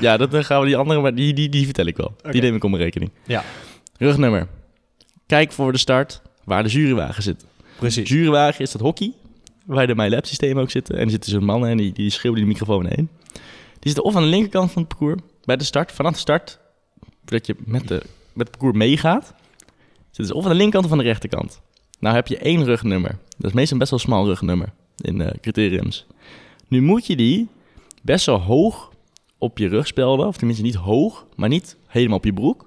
Speaker 4: Ja, dat eh, gaan we die andere, maar die, die, die vertel ik wel. Die neem ik om mijn rekening.
Speaker 1: Ja,
Speaker 4: Rugnummer. Kijk voor de start waar de jurywagen zit. De
Speaker 1: precies.
Speaker 4: jurywagen is dat hockey, waar de MyLab systemen ook zitten. En er zitten zo'n mannen en die, die schreeuwen die microfoon heen. Die zitten of aan de linkerkant van het parcours, bij de start, vanaf de start, dat je met, de, met het parcours meegaat. Zitten ze of aan de linkerkant of aan de rechterkant. Nou heb je één rugnummer. Dat is meestal best wel een smal rugnummer in eh, criteriums. Nu moet je die best wel hoog op je rug spelden. Of tenminste niet hoog, maar niet helemaal op je broek.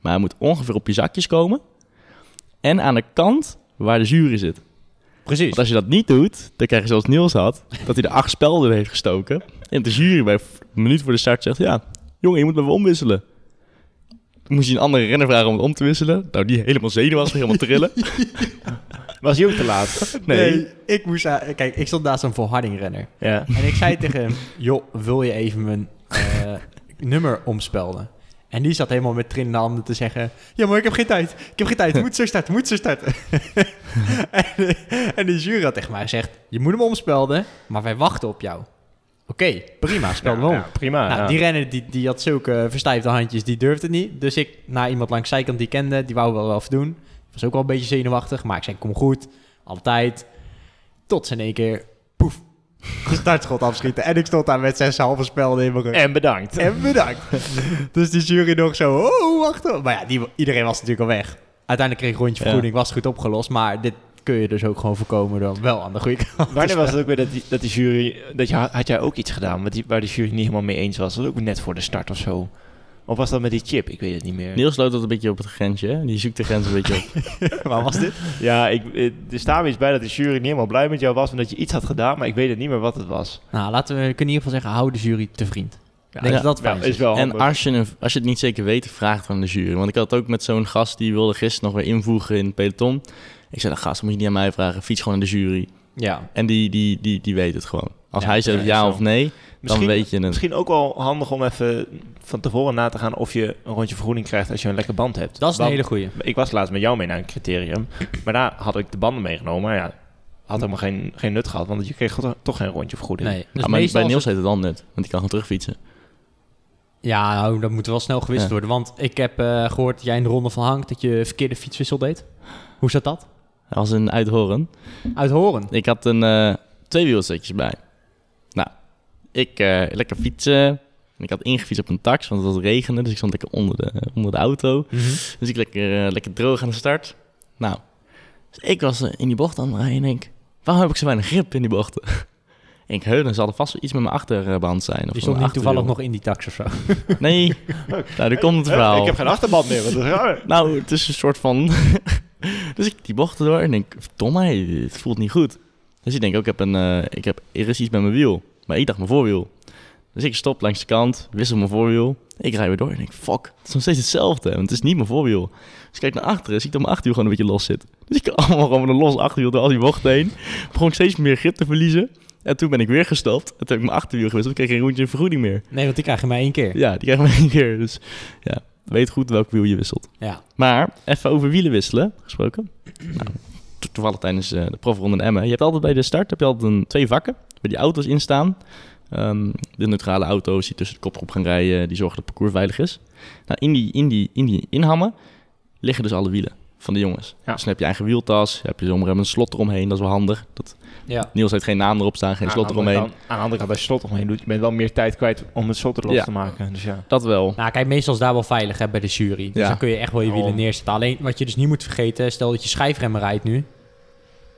Speaker 4: Maar hij moet ongeveer op je zakjes komen. en aan de kant waar de jury zit.
Speaker 1: Precies.
Speaker 4: Want als je dat niet doet, dan krijg je zoals Niels had, dat hij er acht spelden heeft gestoken. En de jury bij f- een minuut voor de start zegt, ja, jongen, je moet me wel omwisselen. Toen moest je een andere renner vragen om het om te wisselen. Nou, die helemaal zenuwachtig, helemaal trillen.
Speaker 2: Was hij ook te
Speaker 1: [laughs]
Speaker 2: laat? [laughs]
Speaker 4: Nee.
Speaker 1: ik moest... aan- Kijk, ik stond naast een volhardingrenner.
Speaker 2: Ja.
Speaker 1: En ik zei tegen hem, joh, wil je even mijn eh, nummer omspelden? En die zat helemaal met trillende handen te zeggen... Ja, maar ik heb geen tijd. Ik heb geen tijd. Ik moet zo starten. ik Moet zo starten. [laughs] en, en de jury had tegen mij gezegd... Je moet hem omspelden, maar wij wachten op jou. Oké, prima. Spel hem om.
Speaker 2: Ja, prima.
Speaker 1: Nou,
Speaker 2: Ah, ja.
Speaker 1: die renner die, die had zulke eh, verstijfde handjes, die durfde het niet. Dus ik, naar iemand langs de zijkant die ik kende, die wou wel wel even doen. Was ook wel een beetje zenuwachtig, maar ik zei, kom goed, altijd. Tot ze in één keer, poef, de startschot afschieten. En ik stond daar met zes halve spel in mijn rug.
Speaker 2: En bedankt.
Speaker 1: En bedankt. dus die jury nog zo, oh, wacht. op. Maar ja, die, iedereen was natuurlijk al weg. Uiteindelijk kreeg ik een rondje
Speaker 4: Ja.
Speaker 1: vergoeding, was goed opgelost. Maar dit kun je dus ook gewoon voorkomen dan wel aan de goede kant.
Speaker 2: Wanneer was het ook weer dat die, dat die jury... Dat je, had jij ook iets gedaan wat die, waar de jury niet helemaal mee eens was? Dat was ook net voor de start of zo. Of was dat met die chip? Ik weet het niet meer.
Speaker 4: Niels loopt dat een beetje op het grensje, hè? Die zoekt de grens een beetje op.
Speaker 1: Waar was dit?
Speaker 2: Ja, ik, eh, er staat iets bij dat de jury niet helemaal blij met jou was... omdat je iets had gedaan, maar ik weet het niet meer wat het was.
Speaker 1: Nou, laten we kunnen in ieder geval zeggen, hou de jury te vriend.
Speaker 2: Ja,
Speaker 1: Denk
Speaker 4: ja.
Speaker 1: dat dat
Speaker 2: Ja,
Speaker 1: fijn is?
Speaker 2: is wel
Speaker 4: En
Speaker 2: handig.
Speaker 4: als je, een- als je het niet zeker weet, vraag het aan de jury. Want ik had het ook met zo'n gast, die wilde gisteren nog weer invoegen in het peloton. Ik zei, "Nou, gast, moet je niet aan mij vragen. Fiets gewoon aan de jury.
Speaker 1: Ja.
Speaker 4: En die, die, die, die weet het gewoon. Als
Speaker 1: Ja,
Speaker 4: hij zegt
Speaker 1: ja,
Speaker 4: ja,
Speaker 1: zo.
Speaker 4: of nee,
Speaker 2: Misschien-
Speaker 4: dan weet je het.
Speaker 2: Misschien ook wel handig om even van tevoren na te gaan of je een rondje vergoeding krijgt als je een lekker band hebt.
Speaker 1: Dat is een
Speaker 2: Want
Speaker 1: hele goeie.
Speaker 2: Ik was laatst met jou mee naar een criterium, maar daar had ik de banden meegenomen. Maar ja, had helemaal geen, geen nut gehad, want je kreeg toch- toch geen rondje vergoeding.
Speaker 1: Nee. Dus
Speaker 4: Ja, maar
Speaker 1: meestal
Speaker 4: bij
Speaker 1: als
Speaker 4: Niels
Speaker 1: het-
Speaker 4: heet het dan net, want die kan gewoon terugfietsen.
Speaker 1: Ja, nou, dat moet wel snel gewisseld
Speaker 4: Ja.
Speaker 1: worden. Want ik heb eh, gehoord dat jij in de ronde van Hank dat je verkeerde fietswissel deed. Hoe zat dat?
Speaker 4: Dat was een uithoren.
Speaker 1: Uit Horen.
Speaker 4: Ik had een eh tweewielsetjes bij. Nou, ik eh, lekker fietsen. En Ik had ingefietst op een tax, want het was regenen. Dus ik stond lekker onder de, onder de auto.
Speaker 1: Mhm.
Speaker 4: Dus ik lekker, eh, lekker droog aan de start. Nou, dus ik was eh, in die bocht aan het rijden en denk... Waarom heb ik zo weinig grip in die bochten? [laughs] En ik heul, er zal er vast wel iets met mijn achterband zijn. Of
Speaker 1: Die
Speaker 4: met
Speaker 1: stond
Speaker 4: mijn
Speaker 1: niet toevallig
Speaker 4: achterwiel.
Speaker 1: nog in die tax of
Speaker 4: [laughs]
Speaker 1: zo. [laughs]
Speaker 4: Nee, nou, daar komt het verhaal.
Speaker 2: Ik heb geen achterband meer, wat is raar.
Speaker 4: Nou, het is een soort van... [laughs] dus ik die bocht door en denk, verdomme, het voelt niet goed. Dus ik denk, oh, ik heb een, eh, ik heb, er is iets met mijn wiel. Maar ik dacht mijn voorwiel. Dus ik stop langs de kant, wissel mijn voorwiel. Ik rij weer door en denk, fuck, het is nog steeds hetzelfde. Want het is niet mijn voorwiel. Dus ik kijk naar achteren, zie ik dat mijn achterwiel gewoon een beetje los zit. Dus ik [laughs] allemaal gewoon met een los achterwiel door al die bochten heen. Begon ik steeds meer grip te verliezen. En toen ben ik weer gestopt. En toen heb ik mijn achterwiel gewisseld. Toen kreeg ik geen rondje vergoeding meer.
Speaker 1: Nee, want die krijg je maar één keer.
Speaker 4: [laughs] Ja, die krijgen we één keer. Dus ja, weet goed welk wiel je wisselt.
Speaker 1: Ja.
Speaker 4: Maar even over wielen wisselen
Speaker 2: [clears throat]
Speaker 4: gesproken. Nou, to- toevallig tijdens eh, de profronde in Emmen. Je hebt altijd bij de start heb je altijd een, twee vakken waar die auto's in staan. Ehm, de neutrale auto's die tussen de kopgroep gaan rijden, die zorgen dat het parcours veilig is. Nou, in die, in die, in die inhammen liggen dus alle wielen van de jongens.
Speaker 2: Ja.
Speaker 4: Dus dan heb je eigen wieltas, heb je zomaar een slot eromheen, dat is wel handig. Dat,
Speaker 1: Ja.
Speaker 4: Niels heeft geen naam erop staan, geen slot
Speaker 2: aan, de andere
Speaker 4: eromheen.
Speaker 2: kant- aan de andere kant, als je slot eromheen doet, je bent wel meer tijd kwijt om het slot er los
Speaker 4: Ja.
Speaker 2: te maken. Dus ja.
Speaker 4: Dat wel.
Speaker 1: Nou, kijk, meestal is daar wel veilig hè, bij de jury. Dus
Speaker 4: Ja.
Speaker 1: dan kun je echt wel je wielen
Speaker 2: Daarom.
Speaker 1: neerzetten. Alleen, wat je dus niet moet vergeten, stel dat je schijfremmen rijdt nu.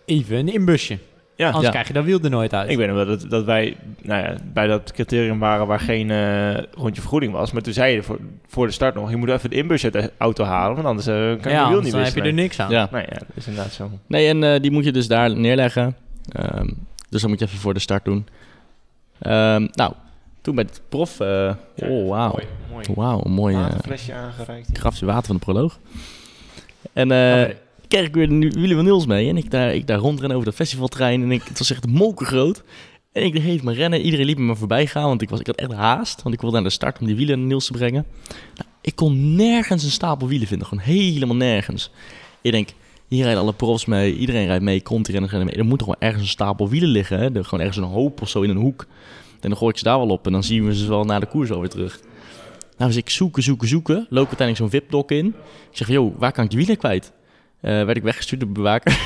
Speaker 1: Even een inbusje.
Speaker 2: Ja,
Speaker 1: Anders
Speaker 4: ja.
Speaker 1: krijg je dat wiel er nooit uit.
Speaker 2: Ik weet nog wel dat, dat wij nou ja, bij dat criterium waren waar geen eh, rondje vergoeding was. Maar toen zei je voor, voor de start nog, je moet even de inbus uit de auto halen, want anders eh, kan je
Speaker 1: ja,
Speaker 2: de wiel
Speaker 1: anders
Speaker 2: niet
Speaker 1: dan heb je
Speaker 2: wisselen.
Speaker 1: er niks aan.
Speaker 4: Ja.
Speaker 2: Nou ja, dat is inderdaad zo.
Speaker 4: Nee, en eh, die moet je dus daar neerleggen. Ehm, dus dat moet je even voor de start doen. Ehm, nou, toen bij het prof... eh, oh, wauw.
Speaker 2: Mooi, mooi.
Speaker 4: Wauw, een mooie eh,
Speaker 2: Waterflesje aangereikt. hier.
Speaker 4: grafje water van de proloog. En eh
Speaker 1: Oké.
Speaker 4: kreeg ik weer de nu- wielen van Niels mee. En ik daar, ik daar rondren over dat festivaltrein. En ik, het was echt molkengroot. En ik deed mijn rennen. Iedereen liep me maar voorbij gaan. Want ik, was, ik had echt haast. Want ik wilde naar de start om die wielen aan Niels te brengen. Nou, ik kon nergens een stapel wielen vinden. Gewoon helemaal nergens. Ik denk, hier rijden alle profs mee. Iedereen rijdt mee. Contrenners rijden mee. Er moet toch wel ergens een stapel wielen liggen. Hè? Er- Gewoon ergens een hoop of zo in een hoek. En dan gooi ik ze daar wel op. En dan zien we ze wel na de koers alweer terug. Nou, dus ik zoeken, zoeken, zoeken. Loop uiteindelijk zo'n VIP-blok in. Ik zeg van, joh, waar kan ik de wielen kwijt? Eh, werd ik weggestuurd door de bewaker.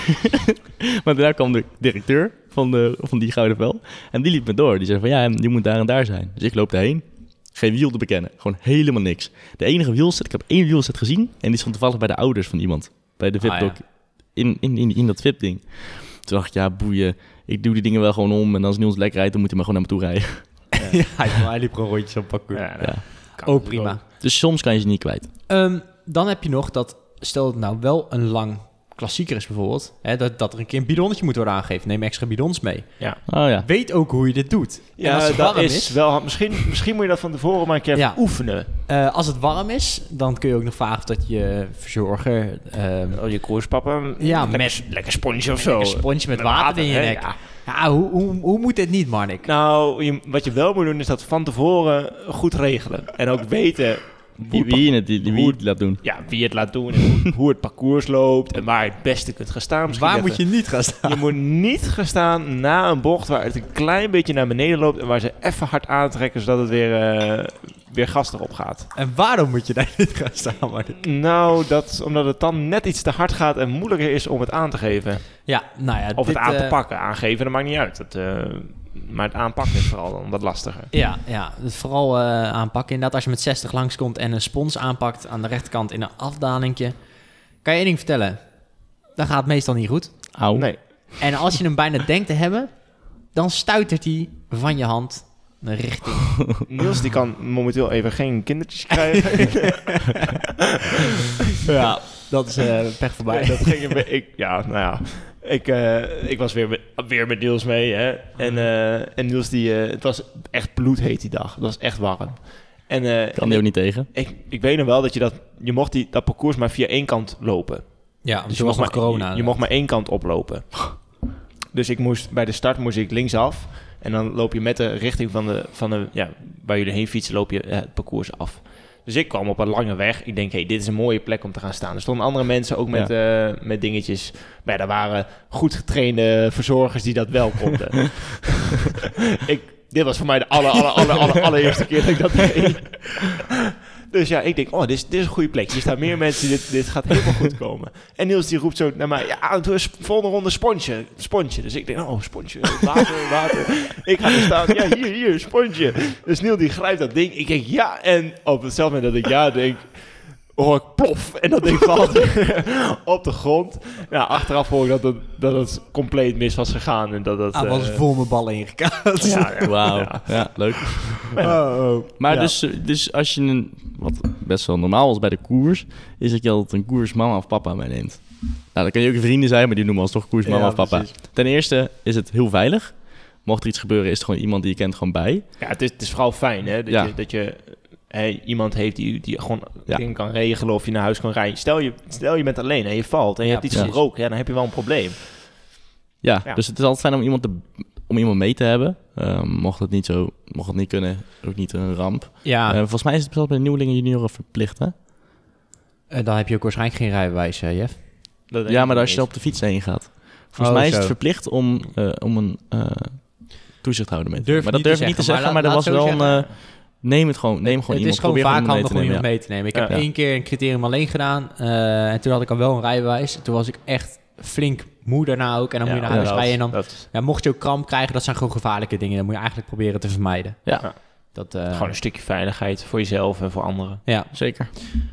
Speaker 4: [laughs] maar daarna kwam de directeur van, de, van die Gouden Vel. En die liep me door. Die zei van, ja, je moet daar en daar zijn. Dus ik loop daarheen. Geen wiel te bekennen. Gewoon helemaal niks. De enige wielset, ik heb één wielset gezien. En die stond toevallig bij de ouders van iemand. Bij de
Speaker 1: Ah, ja.
Speaker 4: VIP-blok. in, in, in, in dat VIP-ding. Toen dacht ik, ja, boeien. Ik doe die dingen wel gewoon om. En als Niels lekker rijdt, dan moet hij maar gewoon naar me toe rijden.
Speaker 1: [laughs] Ja, hij liep gewoon rondjes op parcours.
Speaker 2: Ja, nou,
Speaker 4: Ja.
Speaker 2: kan
Speaker 1: Ook
Speaker 2: natuurlijk
Speaker 1: prima.
Speaker 4: Dus soms kan je ze niet kwijt.
Speaker 1: Ehm, dan heb je nog dat, stel het nou wel een lang klassieker is bijvoorbeeld, hè, dat, dat er een keer een bidonnetje moet worden aangegeven. Neem extra bidons mee.
Speaker 2: Ja,
Speaker 4: Oh ja.
Speaker 1: Weet ook hoe je dit doet. En
Speaker 2: ja
Speaker 1: als het
Speaker 2: dat
Speaker 1: warm
Speaker 2: is, wel... Misschien, misschien moet je dat van tevoren maar een keer
Speaker 1: Ja.
Speaker 2: oefenen.
Speaker 1: eh, als het warm is, dan kun je ook nog vragen of dat je verzorger ehm,
Speaker 2: Oh, je koerspapa.
Speaker 1: Ja,
Speaker 2: lekker,
Speaker 1: met-
Speaker 2: lekker sponge of
Speaker 1: een
Speaker 2: zo.
Speaker 1: lekker sponsje met, water, in je
Speaker 2: hè?
Speaker 1: nek.
Speaker 2: Ja.
Speaker 1: Ja, hoe, hoe, hoe moet dit niet, Marnik?
Speaker 2: Nou, je- wat je wel moet doen is dat van tevoren goed regelen. En ook weten
Speaker 4: Die wie het, die, die wie
Speaker 2: Hoe-
Speaker 4: het laat doen.
Speaker 2: ja, wie het laat doen en hoe, hoe het parcours loopt en waar je het beste kunt gaan staan. Misschien
Speaker 1: Waar
Speaker 2: even.
Speaker 1: moet je niet gaan staan?
Speaker 2: Je moet niet gaan staan na een bocht waar het een klein beetje naar beneden loopt en waar ze even hard aantrekken zodat het weer, eh, weer gas erop gaat.
Speaker 1: En waarom moet je daar niet gaan staan, Marnik?
Speaker 2: Nou, dat is omdat het dan net iets te hard gaat en moeilijker is om het aan te geven.
Speaker 1: Ja, nou ja.
Speaker 2: Of
Speaker 1: dit,
Speaker 2: het aan te
Speaker 1: eh,
Speaker 2: pakken. Aangeven, dat maakt niet uit. Dat, eh, maar het aanpakken is vooral dan wat lastiger.
Speaker 1: Ja, ja. Dus vooral eh, aanpakken. Inderdaad, als je met 60 langskomt en een spons aanpakt aan de rechterkant in een afdalingje, kan je één ding vertellen. Dan gaat het meestal niet goed.
Speaker 4: Au.
Speaker 2: Nee.
Speaker 1: En als je hem bijna [laughs] denkt te hebben, dan stuitert hij van je hand naar richting.
Speaker 2: Niels die kan momenteel even geen kindertjes krijgen.
Speaker 1: [laughs] Ja, dat is eh, pech voorbij.
Speaker 2: Ja, dat ging een be- ik, ja, nou ja. Ik, eh, ik was weer met, weer met Niels mee. Hè?
Speaker 4: Mhm.
Speaker 2: En, eh, en Niels, die, eh, het was echt bloedheet die dag. Het was echt warm. En, eh,
Speaker 4: Kan die ook niet tegen.
Speaker 2: ik, ik weet nog wel dat je dat... Je mocht die, dat parcours maar via één kant lopen.
Speaker 1: Ja, dus
Speaker 2: je
Speaker 1: je was nog
Speaker 2: maar,
Speaker 1: corona.
Speaker 2: Je, je mocht maar één kant
Speaker 1: [laughs]
Speaker 2: oplopen. Dus ik moest, bij de start moest ik linksaf. En dan loop je met de richting van de, van de ja, waar jullie heen fietsen, loop je eh, het parcours af. Dus ik kwam op een lange weg. Ik denk, hé, hey, dit is een mooie plek om te gaan staan. Er stonden andere mensen ook met, eh, met dingetjes. Maar ja, er waren goed getrainde verzorgers die dat wel
Speaker 1: [laughs]
Speaker 2: konden. [laughs] ik, dit was voor mij de aller, aller, aller, aller, allereerste keer dat ik dat deed. Dus ja, ik denk, oh, dit is, dit is een goede plek. Hier staan meer mensen, dit, dit gaat helemaal goed komen. En Niels die roept zo naar mij, ja, doe eens volgende ronde sponsje, sponsje. Dus ik denk, oh, sponsje, water, [laughs] water. ik ga er staan, ja, hier, hier, sponsje. Dus Niels die grijpt dat ding, ik denk ja. En op hetzelfde moment dat ik ja denk, hoor ik plof. En dat ding valt [laughs] op de grond. Ja, achteraf hoor ik dat het, dat het compleet mis was gegaan. En dat het,
Speaker 1: ah, was
Speaker 2: eh,
Speaker 1: vol mijn ballen ingekaat.
Speaker 2: ja, ja.
Speaker 4: Wauw.
Speaker 2: Ja.
Speaker 4: Ja. leuk.
Speaker 1: Oh, oh.
Speaker 4: Maar
Speaker 2: Ja.
Speaker 4: dus, eh, dus als je een, wat best wel normaal was bij de koers, is dat je altijd een koers mama of papa meeneemt. Nou, dan kun je ook je vrienden zijn, maar die noemen ons toch koers mama
Speaker 1: Ja,
Speaker 4: of papa. Ten eerste is het heel veilig. Mocht er iets gebeuren, is er gewoon iemand die je kent gewoon bij.
Speaker 2: Ja, het is, het is vooral fijn hè, dat,
Speaker 4: Ja.
Speaker 2: je, dat je hè, iemand heeft die, die gewoon
Speaker 4: Ja.
Speaker 2: dingen kan regelen of je naar huis kan rijden. Stel je, stel je bent alleen en je valt en je
Speaker 1: Ja,
Speaker 2: hebt iets
Speaker 1: precies.
Speaker 2: gebroken, ja, dan heb je wel een probleem.
Speaker 4: Ja,
Speaker 2: Ja.
Speaker 4: dus het is altijd fijn om iemand, te, om iemand mee te hebben. Ehm, mocht het niet zo, mocht het niet kunnen, ook niet een ramp.
Speaker 1: [laughs] Ja,
Speaker 4: Eh, volgens mij is het zelfs bij de nieuwelingen junioren verplicht, hè?
Speaker 1: eh, dan heb je ook waarschijnlijk geen rijbewijs, eh, Jeff.
Speaker 2: Dat denk
Speaker 4: Ja,
Speaker 2: ik
Speaker 4: maar
Speaker 2: niet.
Speaker 4: als je op de fiets heen gaat. Volgens
Speaker 1: Oh,
Speaker 4: mij is
Speaker 1: zo.
Speaker 4: het verplicht om, eh, om een eh, toezichthouder mee te
Speaker 1: Durf
Speaker 4: nemen. Maar dat
Speaker 1: niet
Speaker 4: durf
Speaker 1: te
Speaker 4: ik niet te
Speaker 1: zeggen, maar
Speaker 4: zeggen, maar er was
Speaker 1: laat-
Speaker 4: wel
Speaker 1: laat
Speaker 4: een...
Speaker 1: zo
Speaker 4: eh, neem het gewoon, neem gewoon
Speaker 1: het
Speaker 4: iemand.
Speaker 1: is gewoon
Speaker 4: probeer
Speaker 1: vaak
Speaker 4: iemand mee
Speaker 1: handig
Speaker 4: te
Speaker 1: om
Speaker 4: nemen,
Speaker 1: iemand mee te nemen. Ik
Speaker 2: Ja.
Speaker 1: heb
Speaker 4: Ja.
Speaker 1: één keer een criterium alleen gedaan. eh, en toen had ik al wel een rijbewijs. Toen was ik echt flink moe daarna ook. En dan moet je
Speaker 2: Ja,
Speaker 1: naar huis
Speaker 2: dat-
Speaker 1: rijden. En dan,
Speaker 2: dat-
Speaker 1: ja, mocht je ook kramp krijgen, dat zijn gewoon gevaarlijke dingen. Dat moet je eigenlijk proberen te vermijden.
Speaker 4: Ja.
Speaker 2: Ja.
Speaker 1: Dat, eh,
Speaker 2: Gewoon een stukje veiligheid voor jezelf en voor anderen.
Speaker 1: ja,
Speaker 4: Ja, zeker.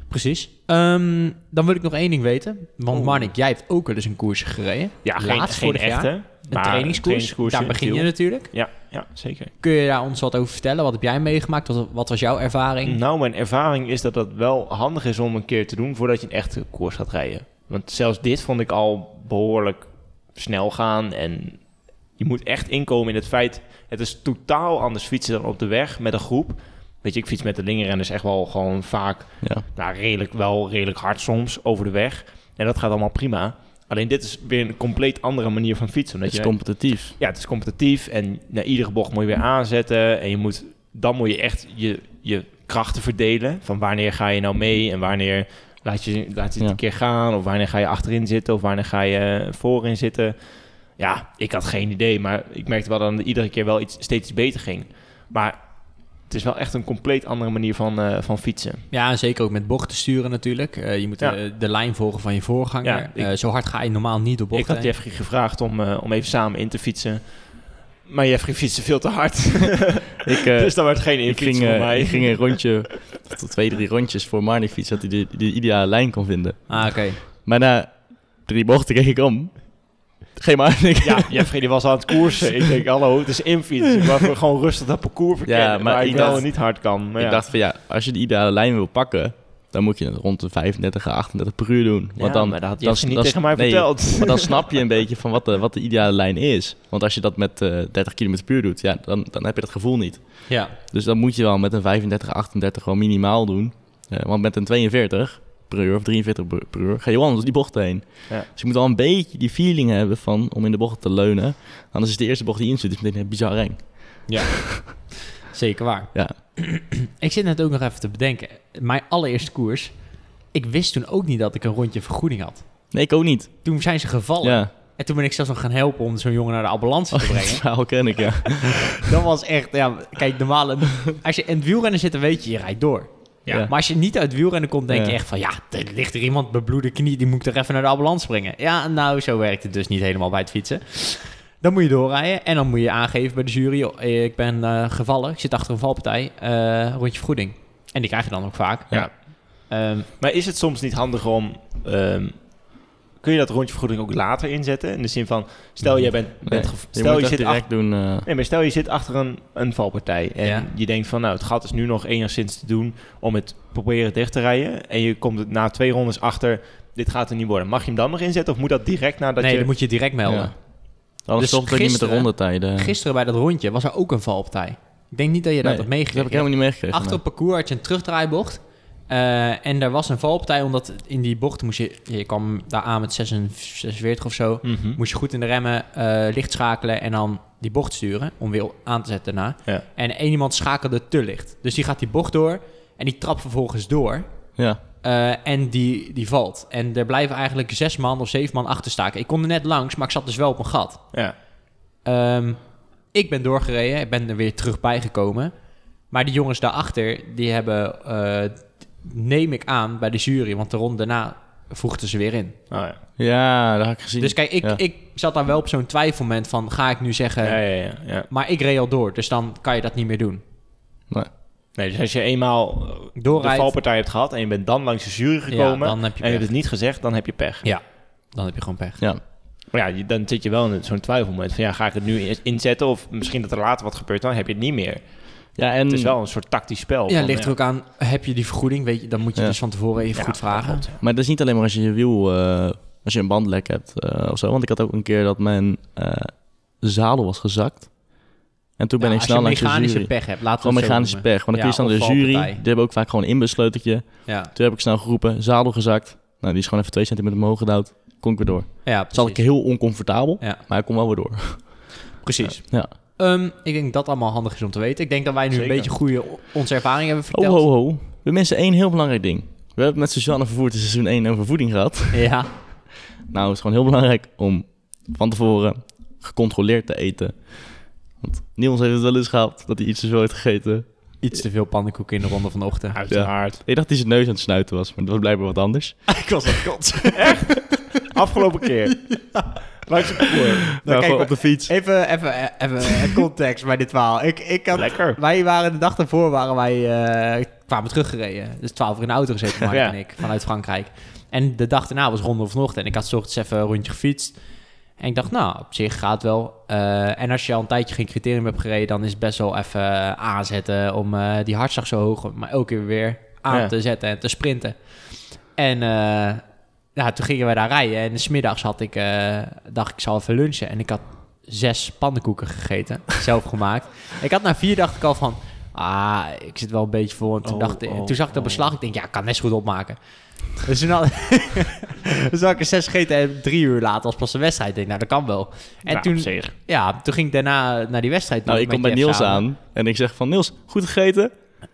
Speaker 1: precies. Ehm, dan wil ik nog één ding weten. Want
Speaker 2: Oeh.
Speaker 1: Marnik, jij hebt ook wel eens een koers gereden.
Speaker 2: Oh. Ja, geen,
Speaker 1: Laatst
Speaker 2: geen
Speaker 1: vorig jaar.
Speaker 2: echte.
Speaker 1: Een
Speaker 2: maar
Speaker 1: trainingskoers. Daar
Speaker 2: in
Speaker 1: begin je
Speaker 2: Tiel.
Speaker 1: natuurlijk.
Speaker 2: Ja, ja, zeker.
Speaker 1: Kun je daar ons wat over vertellen? Wat heb jij meegemaakt? Wat, wat was jouw ervaring?
Speaker 2: Nou, mijn ervaring is dat dat wel handig is om een keer te doen voordat je een echte koers gaat rijden. Want zelfs dit vond ik al behoorlijk snel gaan. En je moet echt inkomen in het feit, het is totaal anders fietsen dan op de weg met een groep. Weet je, ik fiets met de lingerrenners echt wel gewoon vaak,
Speaker 4: Ja.
Speaker 2: nou redelijk wel, redelijk hard soms over de weg. En dat gaat allemaal prima. Alleen dit is weer een compleet andere manier van fietsen. omdat
Speaker 4: Het is
Speaker 2: je-
Speaker 1: [laughs]
Speaker 4: competitief.
Speaker 2: ja, het is competitief en na iedere bocht moet je weer aanzetten. En je moet, dan moet je echt je, je krachten verdelen. Van wanneer ga je nou mee en wanneer laat je, laat je het
Speaker 4: Ja.
Speaker 2: een keer gaan. Of wanneer ga je achterin zitten of wanneer ga je voorin zitten. Ja, ik had geen idee, maar ik merkte wel dat het iedere keer wel iets, steeds iets beter ging. Maar het is wel echt een compleet andere manier van, eh, van fietsen.
Speaker 1: Ja, en zeker ook met bochten sturen natuurlijk. Eh, je moet
Speaker 2: Ja.
Speaker 1: eh, de lijn volgen van je voorganger.
Speaker 2: Ja, ik-
Speaker 1: Eh, zo hard ga je normaal niet door bochten.
Speaker 2: Ik had Jeffrey gevraagd om, eh, om even samen in te fietsen. Maar Jeffrey fietste veel te hard. [laughs]
Speaker 4: Ik, eh,
Speaker 2: dus daar werd geen
Speaker 4: ik,
Speaker 2: infiets
Speaker 4: ging,
Speaker 2: voor
Speaker 4: eh,
Speaker 2: mij.
Speaker 4: ik ging een rondje, [laughs] tot twee, drie rondjes voor Marnie fiets, dat hij de, de ideale lijn kon vinden.
Speaker 1: Ah, oké.
Speaker 4: Maar na drie bochten keek ik om. Geen Marnie.
Speaker 2: Ja, Jeffrey die was aan het koersen. Ik denk, hallo, het is infiets. Ik wou gewoon rustig dat parcours verkennen,
Speaker 4: Ja, maar
Speaker 2: maar waar ik
Speaker 4: ik
Speaker 2: wel
Speaker 4: dacht-
Speaker 2: niet hard kan. Maar
Speaker 4: Ik
Speaker 2: ja.
Speaker 4: dacht van ja, als je de ideale lijn wil pakken, Dan moet je het rond de 35, 38 per uur doen. Want dan,
Speaker 2: maar dat had
Speaker 4: dan-
Speaker 2: Jesse niet
Speaker 4: dan-
Speaker 2: tegen mij
Speaker 4: nee,
Speaker 2: verteld.
Speaker 4: [laughs] Maar dan snap je een beetje van wat de, wat de ideale lijn is. Want als je dat met eh 30 km per uur doet, ja, dan, dan heb je dat gevoel niet.
Speaker 1: Ja.
Speaker 4: Dus dan moet je wel met een 35, 38 gewoon minimaal doen. Eh, want met een 42 per uur of 43 per- per uur ga je wel anders die bocht heen.
Speaker 2: Ja.
Speaker 4: Dus je moet al een beetje die feeling hebben van om in de bocht te leunen. Anders is de eerste bocht die je in zit, is meteen bizar eng.
Speaker 1: Zeker waar.
Speaker 4: Ja.
Speaker 1: Ik zit net ook nog even te bedenken. Mijn allereerste koers. Ik wist toen ook niet dat ik een rondje vergoeding had.
Speaker 4: Nee, ik ook niet.
Speaker 1: Toen zijn ze gevallen.
Speaker 4: Ja,
Speaker 1: En toen ben ik zelfs nog gaan helpen om zo'n jongen naar de ambulance te
Speaker 4: dat
Speaker 1: brengen.
Speaker 4: [laughs] verhaal ken ik, ja.
Speaker 1: Dat was echt... Ja, kijk, normaal... Als je in het wielrennen zit, dan weet je, je rijdt door.
Speaker 4: Ja.
Speaker 1: Maar als je niet uit wielrennen komt, denk je
Speaker 4: Ja.
Speaker 1: echt van... Ja, er ligt er iemand bebloede knie, die moet ik er even naar de ambulance brengen. Ja, nou, zo werkt het dus niet helemaal bij het fietsen. Dan moet je doorrijden en dan moet je aangeven bij de jury... "Joh, eh, ik ben eh, gevallen, ik zit achter een valpartij, eh, rondje vergoeding. En die krijg je dan ook vaak.
Speaker 2: Ja.
Speaker 1: Ehm,
Speaker 2: Maar is het soms niet handig om... ehm, kun je dat rondje vergoeding ook later inzetten? In de zin van, stel jij bent... bent
Speaker 4: Nee,
Speaker 2: gev-
Speaker 4: Je
Speaker 2: stel
Speaker 4: moet
Speaker 2: je,
Speaker 4: dat
Speaker 2: zit achter,
Speaker 4: direct doen. eh,
Speaker 2: nee, maar stel je zit achter een, een valpartij. En
Speaker 1: Ja.
Speaker 2: je denkt van, nou, het gat is nu nog enigszins te doen... om het proberen dicht te rijden. En je komt na twee rondes achter... Dit gaat er niet worden. Mag je hem dan nog inzetten? Of moet dat direct nadat
Speaker 1: nee,
Speaker 2: je...
Speaker 1: dan moet je het direct melden.
Speaker 4: Ja. Anders
Speaker 1: Dus
Speaker 4: stopt het ook niet met de
Speaker 1: gisteren-
Speaker 4: rondetijden.
Speaker 1: Gisteren bij dat rondje was er ook een valpartij. Ik denk niet dat je dat hebt
Speaker 4: Nee, dat heb ik
Speaker 1: meegekregen.
Speaker 4: helemaal niet meegekregen.
Speaker 1: Achter
Speaker 4: nee.
Speaker 1: op parcours had je een terugdraaibocht. Eh, en daar was een valpartij, omdat in die bocht moest je... Je kwam daar aan met 46 46 of zo.
Speaker 2: Mhm.
Speaker 1: Moest je goed in de remmen, eh, licht schakelen en dan die bocht sturen. Om weer aan te zetten daarna.
Speaker 2: Ja.
Speaker 1: En één iemand schakelde te licht. Dus die gaat die bocht door en die trapt vervolgens door.
Speaker 4: Ja,
Speaker 1: Eh, en die, die valt. En er blijven eigenlijk zes man of zeven man achter staken. Ik kon er net langs, maar ik zat dus wel op een gat.
Speaker 2: Ja.
Speaker 1: Ehm, ik ben doorgereden. Ik ben er weer terug bijgekomen. Maar die jongens daarachter, die hebben, eh, neem ik aan, bij de jury. Want de ronde daarna voegden ze weer in.
Speaker 2: Oh, ja.
Speaker 4: ja dat had ik gezien.
Speaker 1: Dus kijk, ik,
Speaker 4: Ja.
Speaker 1: ik zat daar wel op zo'n twijfelmoment van, ga ik nu zeggen...
Speaker 4: Eh.
Speaker 2: ja, ja, ja, ja.
Speaker 1: Maar ik reed al door, dus dan kan je dat niet meer doen.
Speaker 4: Nee.
Speaker 2: Nee, dus als je eenmaal eh, de
Speaker 1: Doorrijdt.
Speaker 2: valpartij hebt gehad en je bent dan langs de jury gekomen
Speaker 1: dan heb je
Speaker 2: en je hebt
Speaker 1: pech.
Speaker 2: het niet gezegd, dan heb je pech.
Speaker 1: Ja, dan heb je gewoon pech.
Speaker 4: Ja.
Speaker 2: Maar ja, je- dan zit je wel in zo'n twijfelmoment van ja, ga ik het nu in- inzetten of misschien dat er later wat gebeurt, dan heb je het niet meer.
Speaker 4: ja, en
Speaker 2: Het is wel een soort tactisch spel.
Speaker 1: Hmm. Ja,
Speaker 2: van,
Speaker 1: ligt er ook aan, heb je die vergoeding? Weet je, dan moet je
Speaker 4: Ja.
Speaker 1: dus van tevoren even
Speaker 2: Ja,
Speaker 1: goed vragen.
Speaker 2: dat klopt,
Speaker 4: Maar dat is niet alleen maar als je je wiel, eh, als je een bandlek hebt eh, of zo. Want ik had ook een keer dat mijn eh, zadel was gezakt. En toen ben
Speaker 1: Ja,
Speaker 4: ik snel
Speaker 1: als
Speaker 4: langs
Speaker 1: je
Speaker 4: de
Speaker 1: mechanische
Speaker 4: jury.
Speaker 1: pech hebt, laten we
Speaker 4: Gewoon
Speaker 1: het zo
Speaker 4: mechanische
Speaker 1: noemen.
Speaker 4: pech. Want dan kun je
Speaker 1: Ja,
Speaker 4: snel naar de
Speaker 1: of
Speaker 4: jury. Die
Speaker 1: valpartij.
Speaker 4: hebben ook vaak gewoon een inbesleuteltje.
Speaker 1: Ja,
Speaker 4: Toen heb ik snel geroepen, zadel gezakt. Nou, die is gewoon even twee centimeter omhoog gedouwd. Kon ik weer door.
Speaker 1: ja
Speaker 4: Zat ik
Speaker 1: precies.
Speaker 4: heel oncomfortabel,
Speaker 1: Ja.
Speaker 4: maar ik kon wel weer door. [laughs]
Speaker 1: precies.
Speaker 4: Ja.
Speaker 1: Ehm, ik denk dat dat allemaal handig is om te weten. Ik denk dat wij nu
Speaker 2: Zeker.
Speaker 1: een beetje goede onze ervaring hebben
Speaker 4: Oh,
Speaker 1: verteld.
Speaker 4: ho, ho. We missen één heel belangrijk ding. We hebben het met Suzanne vervoerd in seizoen 1 over voeding gehad. [laughs]
Speaker 1: Ja,
Speaker 4: Nou, het is gewoon heel belangrijk om van tevoren gecontroleerd te eten. Want Niels heeft het wel eens gehad dat hij iets te veel heeft gegeten.
Speaker 1: iets te veel pannenkoeken in de ronde van de ochtend.
Speaker 2: ja. Uiteraard.
Speaker 4: Ik dacht dat hij zijn neus aan het snuiten was, maar dat was blijkbaar wat anders.
Speaker 1: [laughs] ik was dat kot.
Speaker 2: Afgelopen
Speaker 1: [laughs]
Speaker 2: keer. Langs het parcours.
Speaker 4: Nou,
Speaker 1: kijk,
Speaker 4: gewoon [laughs] op de fiets.
Speaker 1: Even, even, even een context bij dit verhaal. Ik, ik had,
Speaker 2: Lekker.
Speaker 1: Wij waren de dag daarvoor waren wij, eh, kwamen teruggereden. Dus twaalf uur in de auto gezeten, Mark
Speaker 2: Ja.
Speaker 1: en ik, vanuit Frankrijk. En de dag daarna was ronde vanochtend. En ik had 's ochtends even een rondje gefietst. En ik dacht, nou, op zich gaat wel. Eh, en als je al een tijdje geen criterium hebt gereden, dan is het best wel even eh, aanzetten om eh, die hartslag zo hoog, maar ook weer aan
Speaker 2: Ja.
Speaker 1: te zetten en te sprinten. En eh, ja, toen gingen wij daar rijden. En smiddags had ik, eh, dacht ik, zal even lunchen. En ik had zes pannenkoeken gegeten, [laughs] zelf gemaakt. Ik had na vier dacht ik al van, ah, ik zit wel een beetje vol. En toen,
Speaker 2: Oh,
Speaker 1: dacht, ik-
Speaker 2: oh,
Speaker 1: toen zag ik dat
Speaker 2: oh.
Speaker 1: beslag. Ik denk, ja, ik kan net zo goed opmaken. Dus toen had, [laughs] dus had ik er zes gegeten en drie uur later was pas de wedstrijd. Ik denk, nou, dat kan wel. En
Speaker 2: Nou,
Speaker 1: toen,
Speaker 2: op zich.
Speaker 1: ja, toen ging ik daarna naar die wedstrijd. toe
Speaker 4: Nou, ik
Speaker 1: met
Speaker 4: kom bij
Speaker 1: Jeff
Speaker 4: Niels
Speaker 1: samen.
Speaker 4: aan en ik zeg van Niels, goed gegeten?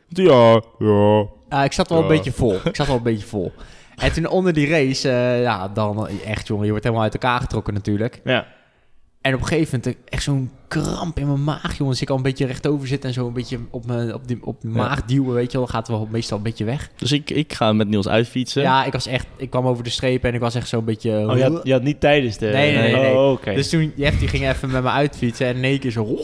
Speaker 4: Ja, ja.
Speaker 1: Ah, ik zat wel
Speaker 4: Ja.
Speaker 1: een beetje vol. Ik zat wel een beetje vol.
Speaker 4: [laughs]
Speaker 1: En toen onder die race, eh, ja, dan echt jongen, je wordt helemaal uit elkaar getrokken natuurlijk.
Speaker 2: Ja.
Speaker 1: En op een gegeven moment eh, echt zo'n kramp in mijn maag, jongens. Ik al een beetje rechtover zitten en zo een beetje op mijn op die, op mijn
Speaker 4: Ja.
Speaker 1: maag duwen, weet je wel. Dan gaat het wel meestal een beetje weg.
Speaker 4: Dus ik, ik ga met Niels uitfietsen.
Speaker 1: Ja, ik was echt, ik kwam over de streep en ik was echt zo'n beetje...
Speaker 2: Oh, je had, je had niet tijdens de...
Speaker 1: Nee, nee, nee, nee.
Speaker 2: Oh, oké.
Speaker 1: Dus toen, Jeff die ging even met me uitfietsen en in één keer zo...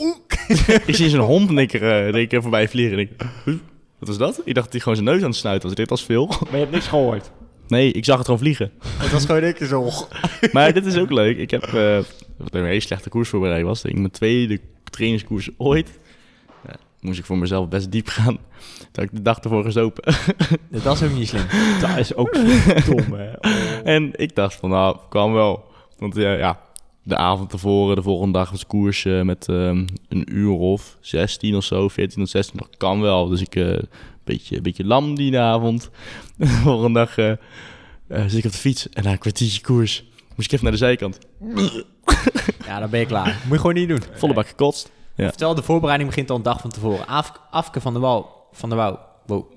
Speaker 4: Ik zie zo'n hond in één keer, eh, in één keer voorbij vliegen en ik... huh, Wat was dat? Ik dacht dat hij gewoon zijn neus aan het snuiten was. Ik dacht, dat is veel. [laughs]
Speaker 2: Maar je hebt niks gehoord.
Speaker 4: Nee, ik zag het gewoon vliegen.
Speaker 1: Het was gewoon een keer zo...
Speaker 4: [laughs] Maar dit is ook leuk. Ik heb eh, wat een hele slechte koersvoorbereiding was. Ik denk mijn tweede trainingskoers ooit. Ja, moest ik voor mezelf best diep gaan. Toen had ik de dag ervoor gezopen.
Speaker 1: Dat is ook niet slim.
Speaker 2: Dat is [laughs] ook zo dom, hè. Oh.
Speaker 4: en ik dacht van, nou, kwam wel. Want eh, ja, de avond tevoren, de volgende dag was koers eh, met ehm, een uur of 16 of zo, 14 of 16. Dat kan wel. Dus ik eh, een beetje, een beetje lam die avond. [laughs] de volgende dag eh, eh, zit ik op de fiets en na een kwartiertje koers moest ik even naar de zijkant.
Speaker 1: Ja, dan ben je klaar. Moet je gewoon niet doen.
Speaker 4: Volle bak gekotst.
Speaker 1: Vertel, de voorbereiding begint al een dag van tevoren. Af- Afke van de Wouw. Van de Wouw. Wow.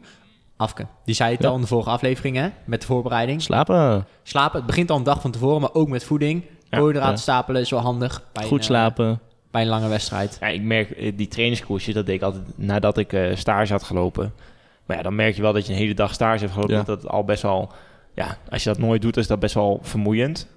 Speaker 1: Afke. Die zei het
Speaker 4: Ja.
Speaker 1: al in de vorige aflevering, hè? Met de voorbereiding.
Speaker 4: Slapen.
Speaker 1: Slapen. Het begint al een dag van tevoren, maar ook met voeding.
Speaker 2: Ja,
Speaker 1: Koolhydraten
Speaker 4: ja.
Speaker 1: stapelen is wel handig. Bij een,
Speaker 4: Goed
Speaker 1: eh,
Speaker 4: slapen.
Speaker 1: bij een lange wedstrijd.
Speaker 2: Ja, ik merk eh, die trainingskoersjes, dat deed ik altijd nadat ik eh, stage had gelopen. Maar ja, dan merk je wel dat je een hele dag stage hebt gelopen.
Speaker 4: Ja.
Speaker 2: Dat het al best wel, ja, als je dat nooit doet, is dat best wel vermoeiend.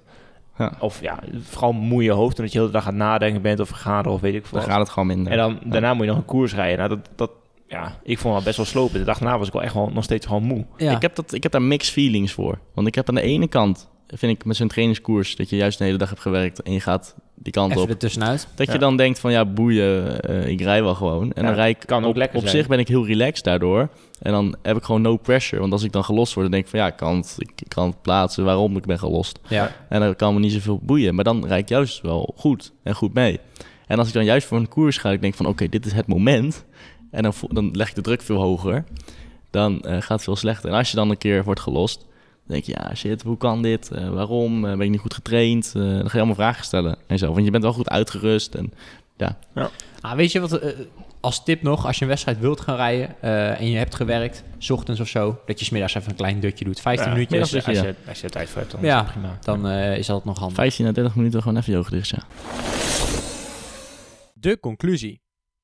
Speaker 4: Ja.
Speaker 2: Of ja, vooral moe je hoofd, omdat je de hele dag aan het nadenken bent of vergaderen of weet ik veel.
Speaker 4: Dan
Speaker 2: wat.
Speaker 4: gaat het gewoon minder.
Speaker 2: En dan, daarna moet je nog een koers rijden. Nou, dat, dat, ja, ik vond dat best wel slopend. De dag daarna was ik wel echt wel nog steeds gewoon moe.
Speaker 1: Ja.
Speaker 4: Ik, heb dat, ik heb daar mixed feelings voor. Want ik heb aan de ene kant, vind ik met zo'n trainingskoers, dat je juist de hele dag hebt gewerkt en je gaat die kant
Speaker 1: Even
Speaker 4: op.
Speaker 1: er tussenuit.
Speaker 4: Dat
Speaker 2: Ja.
Speaker 4: je dan denkt van ja, boeien, eh, ik rij wel gewoon. En
Speaker 2: Ja,
Speaker 4: dan rij ik
Speaker 2: kan ook
Speaker 4: op,
Speaker 2: lekker
Speaker 4: op
Speaker 2: zijn.
Speaker 4: zich ben ik heel relaxed daardoor. En dan heb ik gewoon no pressure. Want als ik dan gelost word, dan denk ik van ja, ik kan het, ik ik kan het plaatsen waarom ik ben gelost.
Speaker 1: Ja.
Speaker 4: En dan kan me niet zoveel boeien. Maar dan rijd ik juist wel goed en goed mee. En als ik dan juist voor een koers ga, ik denk van oké, dit is het moment. En dan, voel- dan leg ik de druk veel hoger. Dan eh, gaat het veel slechter. En als je dan een keer wordt gelost, dan denk je ja shit, hoe kan dit? Eh, waarom? Eh, ben ik niet goed getraind? Eh, dan ga je allemaal vragen stellen en zo. Want je bent wel goed uitgerust. En
Speaker 1: Ah, weet je wat, eh, als tip nog, als je een wedstrijd wilt gaan rijden eh, en je hebt gewerkt, 's ochtends of zo, dat je smiddags even een klein dutje doet, 15
Speaker 2: Ja,
Speaker 1: minuutjes.
Speaker 2: Als je,
Speaker 4: minuutjes,
Speaker 2: als, je, als je er tijd voor hebt, dan
Speaker 1: Ja.
Speaker 2: is dat prima.
Speaker 1: Dan eh, is dat nog handig.
Speaker 4: 15 à 30 minuten gewoon even je ogen dicht, ja.
Speaker 1: De conclusie.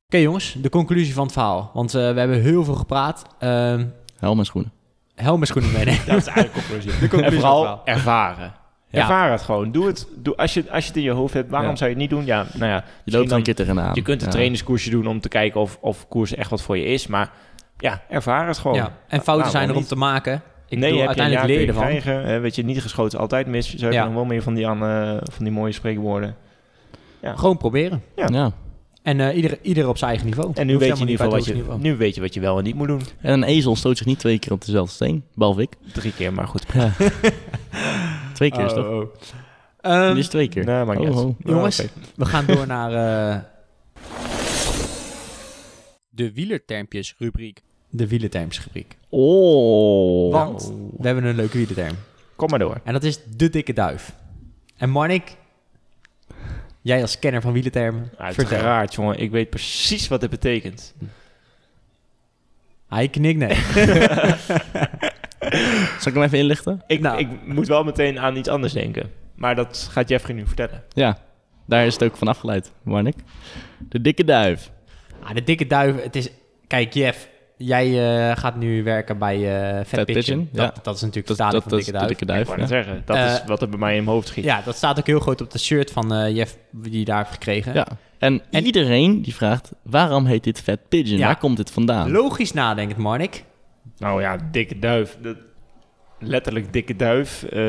Speaker 1: Oké jongens, de conclusie van het verhaal. Want eh, we hebben heel veel gepraat. Ehm
Speaker 4: Helm en schoenen.
Speaker 1: helm en schoenen meenemen.
Speaker 2: Dat is eigenlijk de conclusie. [laughs] en
Speaker 1: conclusie van het
Speaker 2: vooral ervaren.
Speaker 1: Ja.
Speaker 2: Ervaar het gewoon. Doe het. Doe, als, je, als je het in je hoofd hebt, waarom
Speaker 4: Ja.
Speaker 2: zou je het niet doen? Ja, nou ja,
Speaker 4: Je loopt er een
Speaker 2: dan-
Speaker 4: keer tegenaan.
Speaker 2: je kunt een
Speaker 4: Ja.
Speaker 2: trainingskoersje doen om te kijken of, of koersen echt wat voor je is. Maar ja, ervaar het gewoon.
Speaker 1: ja. En fouten
Speaker 2: waarom
Speaker 1: zijn er om
Speaker 2: niet?
Speaker 1: te maken. Ik
Speaker 2: Nou, nee,
Speaker 1: bedoel,
Speaker 2: heb je een
Speaker 1: uiteindelijk leren
Speaker 2: jaar
Speaker 1: van.
Speaker 2: kun je krijgen. Hè, weet je, niet geschoten is altijd mis. Zo heb je
Speaker 1: Ja.
Speaker 2: nog wel meer van die, aan, eh, van die mooie spreekwoorden.
Speaker 1: Gewoon proberen.
Speaker 4: Ja.
Speaker 1: En eh ieder, ieder op zijn eigen niveau.
Speaker 2: En nu
Speaker 1: Hoeft
Speaker 2: weet, je in
Speaker 1: helemaal
Speaker 2: ieder geval wat
Speaker 1: niet bij
Speaker 2: je,
Speaker 1: het hoogste
Speaker 2: nu weet je wat je wel en niet moet doen.
Speaker 4: En een ezel stoot zich niet twee keer op dezelfde steen. Behalve ik.
Speaker 2: Drie keer, maar goed.
Speaker 4: Twee keer is
Speaker 1: niveau.
Speaker 4: toch?
Speaker 1: Ehm,
Speaker 4: Die is twee keer.
Speaker 2: Oh. Nee, maakt niet
Speaker 4: Oh,
Speaker 2: uit.
Speaker 4: oh.
Speaker 1: Jongens,
Speaker 2: Nou, oké.
Speaker 1: we gaan door naar eh, de wielertermpjes rubriek. De wielerterms rubriek.
Speaker 4: Oh.
Speaker 1: Want we hebben een leuke wielerterm.
Speaker 2: Kom maar door.
Speaker 1: En dat is de dikke duif. En Marnik, jij als kenner van wielertermen,
Speaker 2: Ah,
Speaker 1: vertel.
Speaker 2: Uiteraard, jongen. Ik weet precies wat het betekent.
Speaker 1: Hij knikt nee.
Speaker 4: Zal ik hem even inlichten?
Speaker 2: Ik,
Speaker 1: Nou.
Speaker 2: ik moet wel meteen aan iets anders denken. Maar dat gaat Jeffrey nu vertellen.
Speaker 4: Ja, daar is het ook van afgeleid, Marnik. De dikke duif.
Speaker 1: [laughs] ah, de dikke duif, het is... Kijk, Jeff, jij eh, gaat nu werken bij eh Fat,
Speaker 4: Fat
Speaker 1: Pigeon.
Speaker 4: Pigeon,
Speaker 1: Dat,
Speaker 4: ja.
Speaker 1: dat is natuurlijk
Speaker 4: Dat,
Speaker 1: het stadion
Speaker 4: dat,
Speaker 1: van
Speaker 4: dat
Speaker 1: de
Speaker 4: is
Speaker 1: dikke
Speaker 4: de
Speaker 1: duif.
Speaker 4: dikke
Speaker 2: Ik
Speaker 4: duif.
Speaker 2: wou
Speaker 4: ja.
Speaker 2: net zeggen. Dat
Speaker 1: Eh,
Speaker 2: is wat er bij mij in mijn hoofd schiet.
Speaker 1: Ja, dat staat ook heel groot op de shirt van eh, Jeff, die je daar heeft gekregen.
Speaker 4: Ja. En,
Speaker 1: En-
Speaker 4: iedereen die vraagt, waarom heet dit Fat Pigeon?
Speaker 1: Ja.
Speaker 4: Waar komt dit vandaan?
Speaker 1: Logisch nadenkend, Marnik.
Speaker 2: Nou ja, dikke duif. Dat, letterlijk dikke duif. Eh,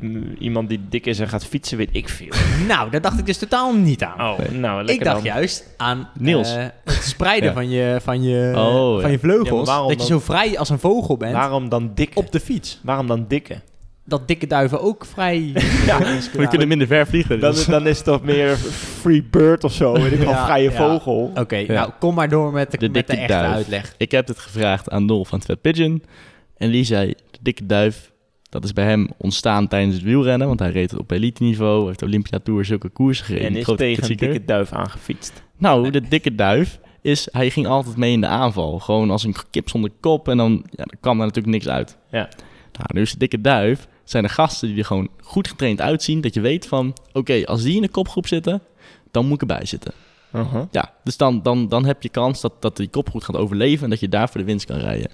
Speaker 2: m- iemand die dik is en gaat fietsen, weet ik veel.
Speaker 1: Nou, daar dacht ik dus totaal niet aan.
Speaker 2: Oh, nou, lekker
Speaker 1: ik dacht
Speaker 2: dan.
Speaker 1: juist aan
Speaker 4: Niels.
Speaker 1: eh, het spreiden
Speaker 4: [laughs] Ja.
Speaker 1: van, je, van, je,
Speaker 4: Oh,
Speaker 1: van
Speaker 4: ja.
Speaker 1: je
Speaker 2: Ja, maar
Speaker 1: vleugels.
Speaker 2: waarom
Speaker 1: dat je zo
Speaker 2: dan-
Speaker 1: vrij als een vogel bent
Speaker 2: Waarom dan dikke?
Speaker 1: op de fiets.
Speaker 2: Waarom dan dikke?
Speaker 1: Dat dikke duiven ook
Speaker 4: [laughs]
Speaker 1: vrij... [laughs]
Speaker 4: We kunnen minder ver vliegen.
Speaker 2: Dan,
Speaker 4: dus.
Speaker 2: dan is het toch meer free bird of zo. Weet ik wel,
Speaker 1: Ja,
Speaker 2: vrije
Speaker 1: ja.
Speaker 2: vogel.
Speaker 1: Oké,
Speaker 4: Ja.
Speaker 1: nou kom maar door met de,
Speaker 4: De
Speaker 1: met de
Speaker 4: dikke
Speaker 1: echte
Speaker 4: duif.
Speaker 1: uitleg.
Speaker 4: Ik heb dit gevraagd aan Dol van Fat Pigeon. En die zei, de dikke duif, dat is bij hem ontstaan tijdens het wielrennen. Want hij reed op elite niveau, heeft Olympia Tour zulke koersen gereden.
Speaker 2: En is
Speaker 4: grote
Speaker 2: tegen een
Speaker 4: klassieker.
Speaker 2: dikke duif aangefietst.
Speaker 4: Nou, de dikke duif is, hij ging altijd mee in de aanval. Gewoon als een kip zonder kop en dan, ja, dan kwam daar natuurlijk niks uit.
Speaker 2: Ja.
Speaker 4: Nou, nu is de dikke duif, zijn de gasten die er gewoon goed getraind uitzien. Dat je weet van, oké, als die in de kopgroep zitten, dan moet ik erbij zitten.
Speaker 2: Uh-huh.
Speaker 4: Ja, dus dan, dan, dan heb je kans dat, dat die kopgroep gaat overleven en dat je daar voor de winst kan rijden.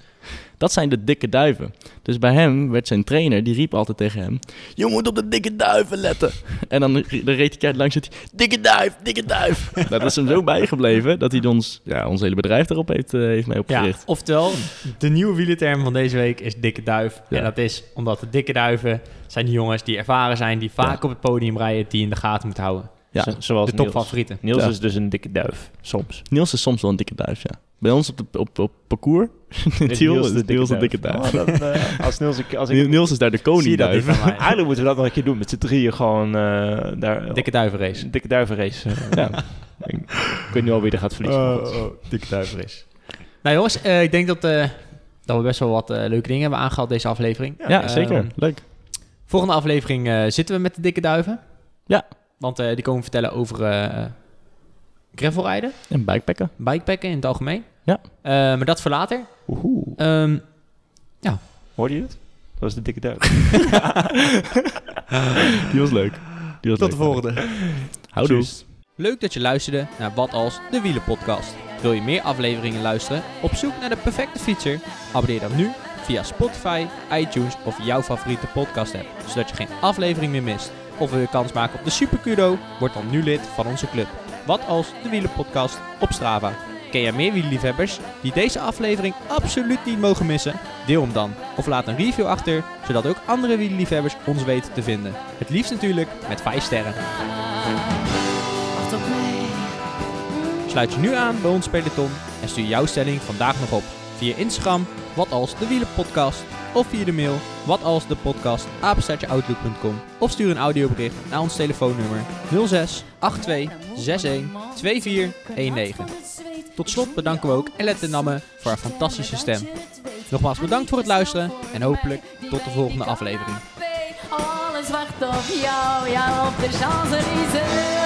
Speaker 4: Dat zijn de dikke duiven. Dus bij hem werd zijn trainer, die riep altijd tegen hem... Je moet op de dikke duiven letten. [laughs] En dan, dan reed hij langs en zei hij, Dikke duif, dikke duif. [laughs] Nou, dat is hem zo bijgebleven dat hij ons, ja, ons hele bedrijf daarop heeft, eh, heeft mee
Speaker 1: Ja,
Speaker 4: opgericht.
Speaker 1: oftewel, de nieuwe wielerterm van deze week is dikke duif.
Speaker 4: Ja.
Speaker 1: En dat is omdat de dikke duiven zijn die jongens die ervaren zijn, die vaak op het podium rijden, die in de gaten moeten houden.
Speaker 4: Ja.
Speaker 2: Zo- zoals
Speaker 1: De
Speaker 2: Niels.
Speaker 1: topfavorieten.
Speaker 2: Niels [laughs]
Speaker 4: Ja.
Speaker 2: is dus een dikke duif, soms.
Speaker 4: Niels is soms wel een dikke duif, ja. Bij ons op, de, op, op parcours. [laughs] In Tiel is Niels de dikke
Speaker 2: duif.
Speaker 4: duif.
Speaker 2: Oh, dat, eh, [laughs] als Niels, een keer- als ik,
Speaker 4: Niels is daar de
Speaker 1: Zie je
Speaker 4: koning
Speaker 1: dat niet
Speaker 4: duif.
Speaker 1: van mij?
Speaker 2: [laughs] eigenlijk moeten we dat nog een keer doen. Met z'n drieën gewoon eh, daar.
Speaker 1: Dikke duivenrace.
Speaker 2: Een dikke duivenrace. eh, ja. ik, ik weet nu al wie er gaat verliezen. maar goed.
Speaker 1: dikke duivenrace. Nou jongens, eh, ik denk dat, eh, dat we best wel wat eh, leuke dingen hebben aangehaald deze aflevering.
Speaker 4: Ja,
Speaker 1: Ehm,
Speaker 4: zeker. Leuk.
Speaker 1: Volgende aflevering eh, zitten we met de dikke duiven.
Speaker 4: Ja.
Speaker 1: Want eh, die komen vertellen over eh gravelrijden,
Speaker 4: En bikepacken.
Speaker 1: bikepacken in het algemeen.
Speaker 4: Ja.
Speaker 1: Eh, maar dat voor later.
Speaker 2: Woehoe.
Speaker 1: Ehm,
Speaker 2: Hoorde je het? Dat was de dikke duif.
Speaker 4: Die was leuk. Die was leuk. Houdoe.
Speaker 2: Tjus.
Speaker 1: Leuk dat je luisterde naar Wat als de Wielenpodcast. Wil je meer afleveringen luisteren? Op zoek naar de perfecte fietser? Abonneer dan nu via Spotify, iTunes of jouw favoriete podcast app, zodat je geen aflevering meer mist. Of wil je kans maken op de Supercudo? Word dan nu lid van onze club. Wat als de Wielenpodcast op Strava. Ken jij meer wielerliefhebbers die deze aflevering absoluut niet mogen missen? Deel hem dan of laat een review achter, zodat ook andere wielerliefhebbers ons weten te vinden. Het liefst natuurlijk met 5 sterren.
Speaker 3: Wacht op mij.
Speaker 1: Sluit je nu aan bij ons peloton en stuur jouw stelling vandaag nog op via Instagram, wat als de wielenpodcast, of via de mail, wat als de podcast, apenstaartjeoutlook.com, of stuur een audiobericht naar ons telefoonnummer 06 82 61 24 19. Tot slot bedanken we ook Ellen Namme voor haar fantastische stem. Nogmaals bedankt voor het luisteren en hopelijk tot de volgende aflevering.
Speaker 3: Alles wacht op jou, jou op de Champs-Élysées.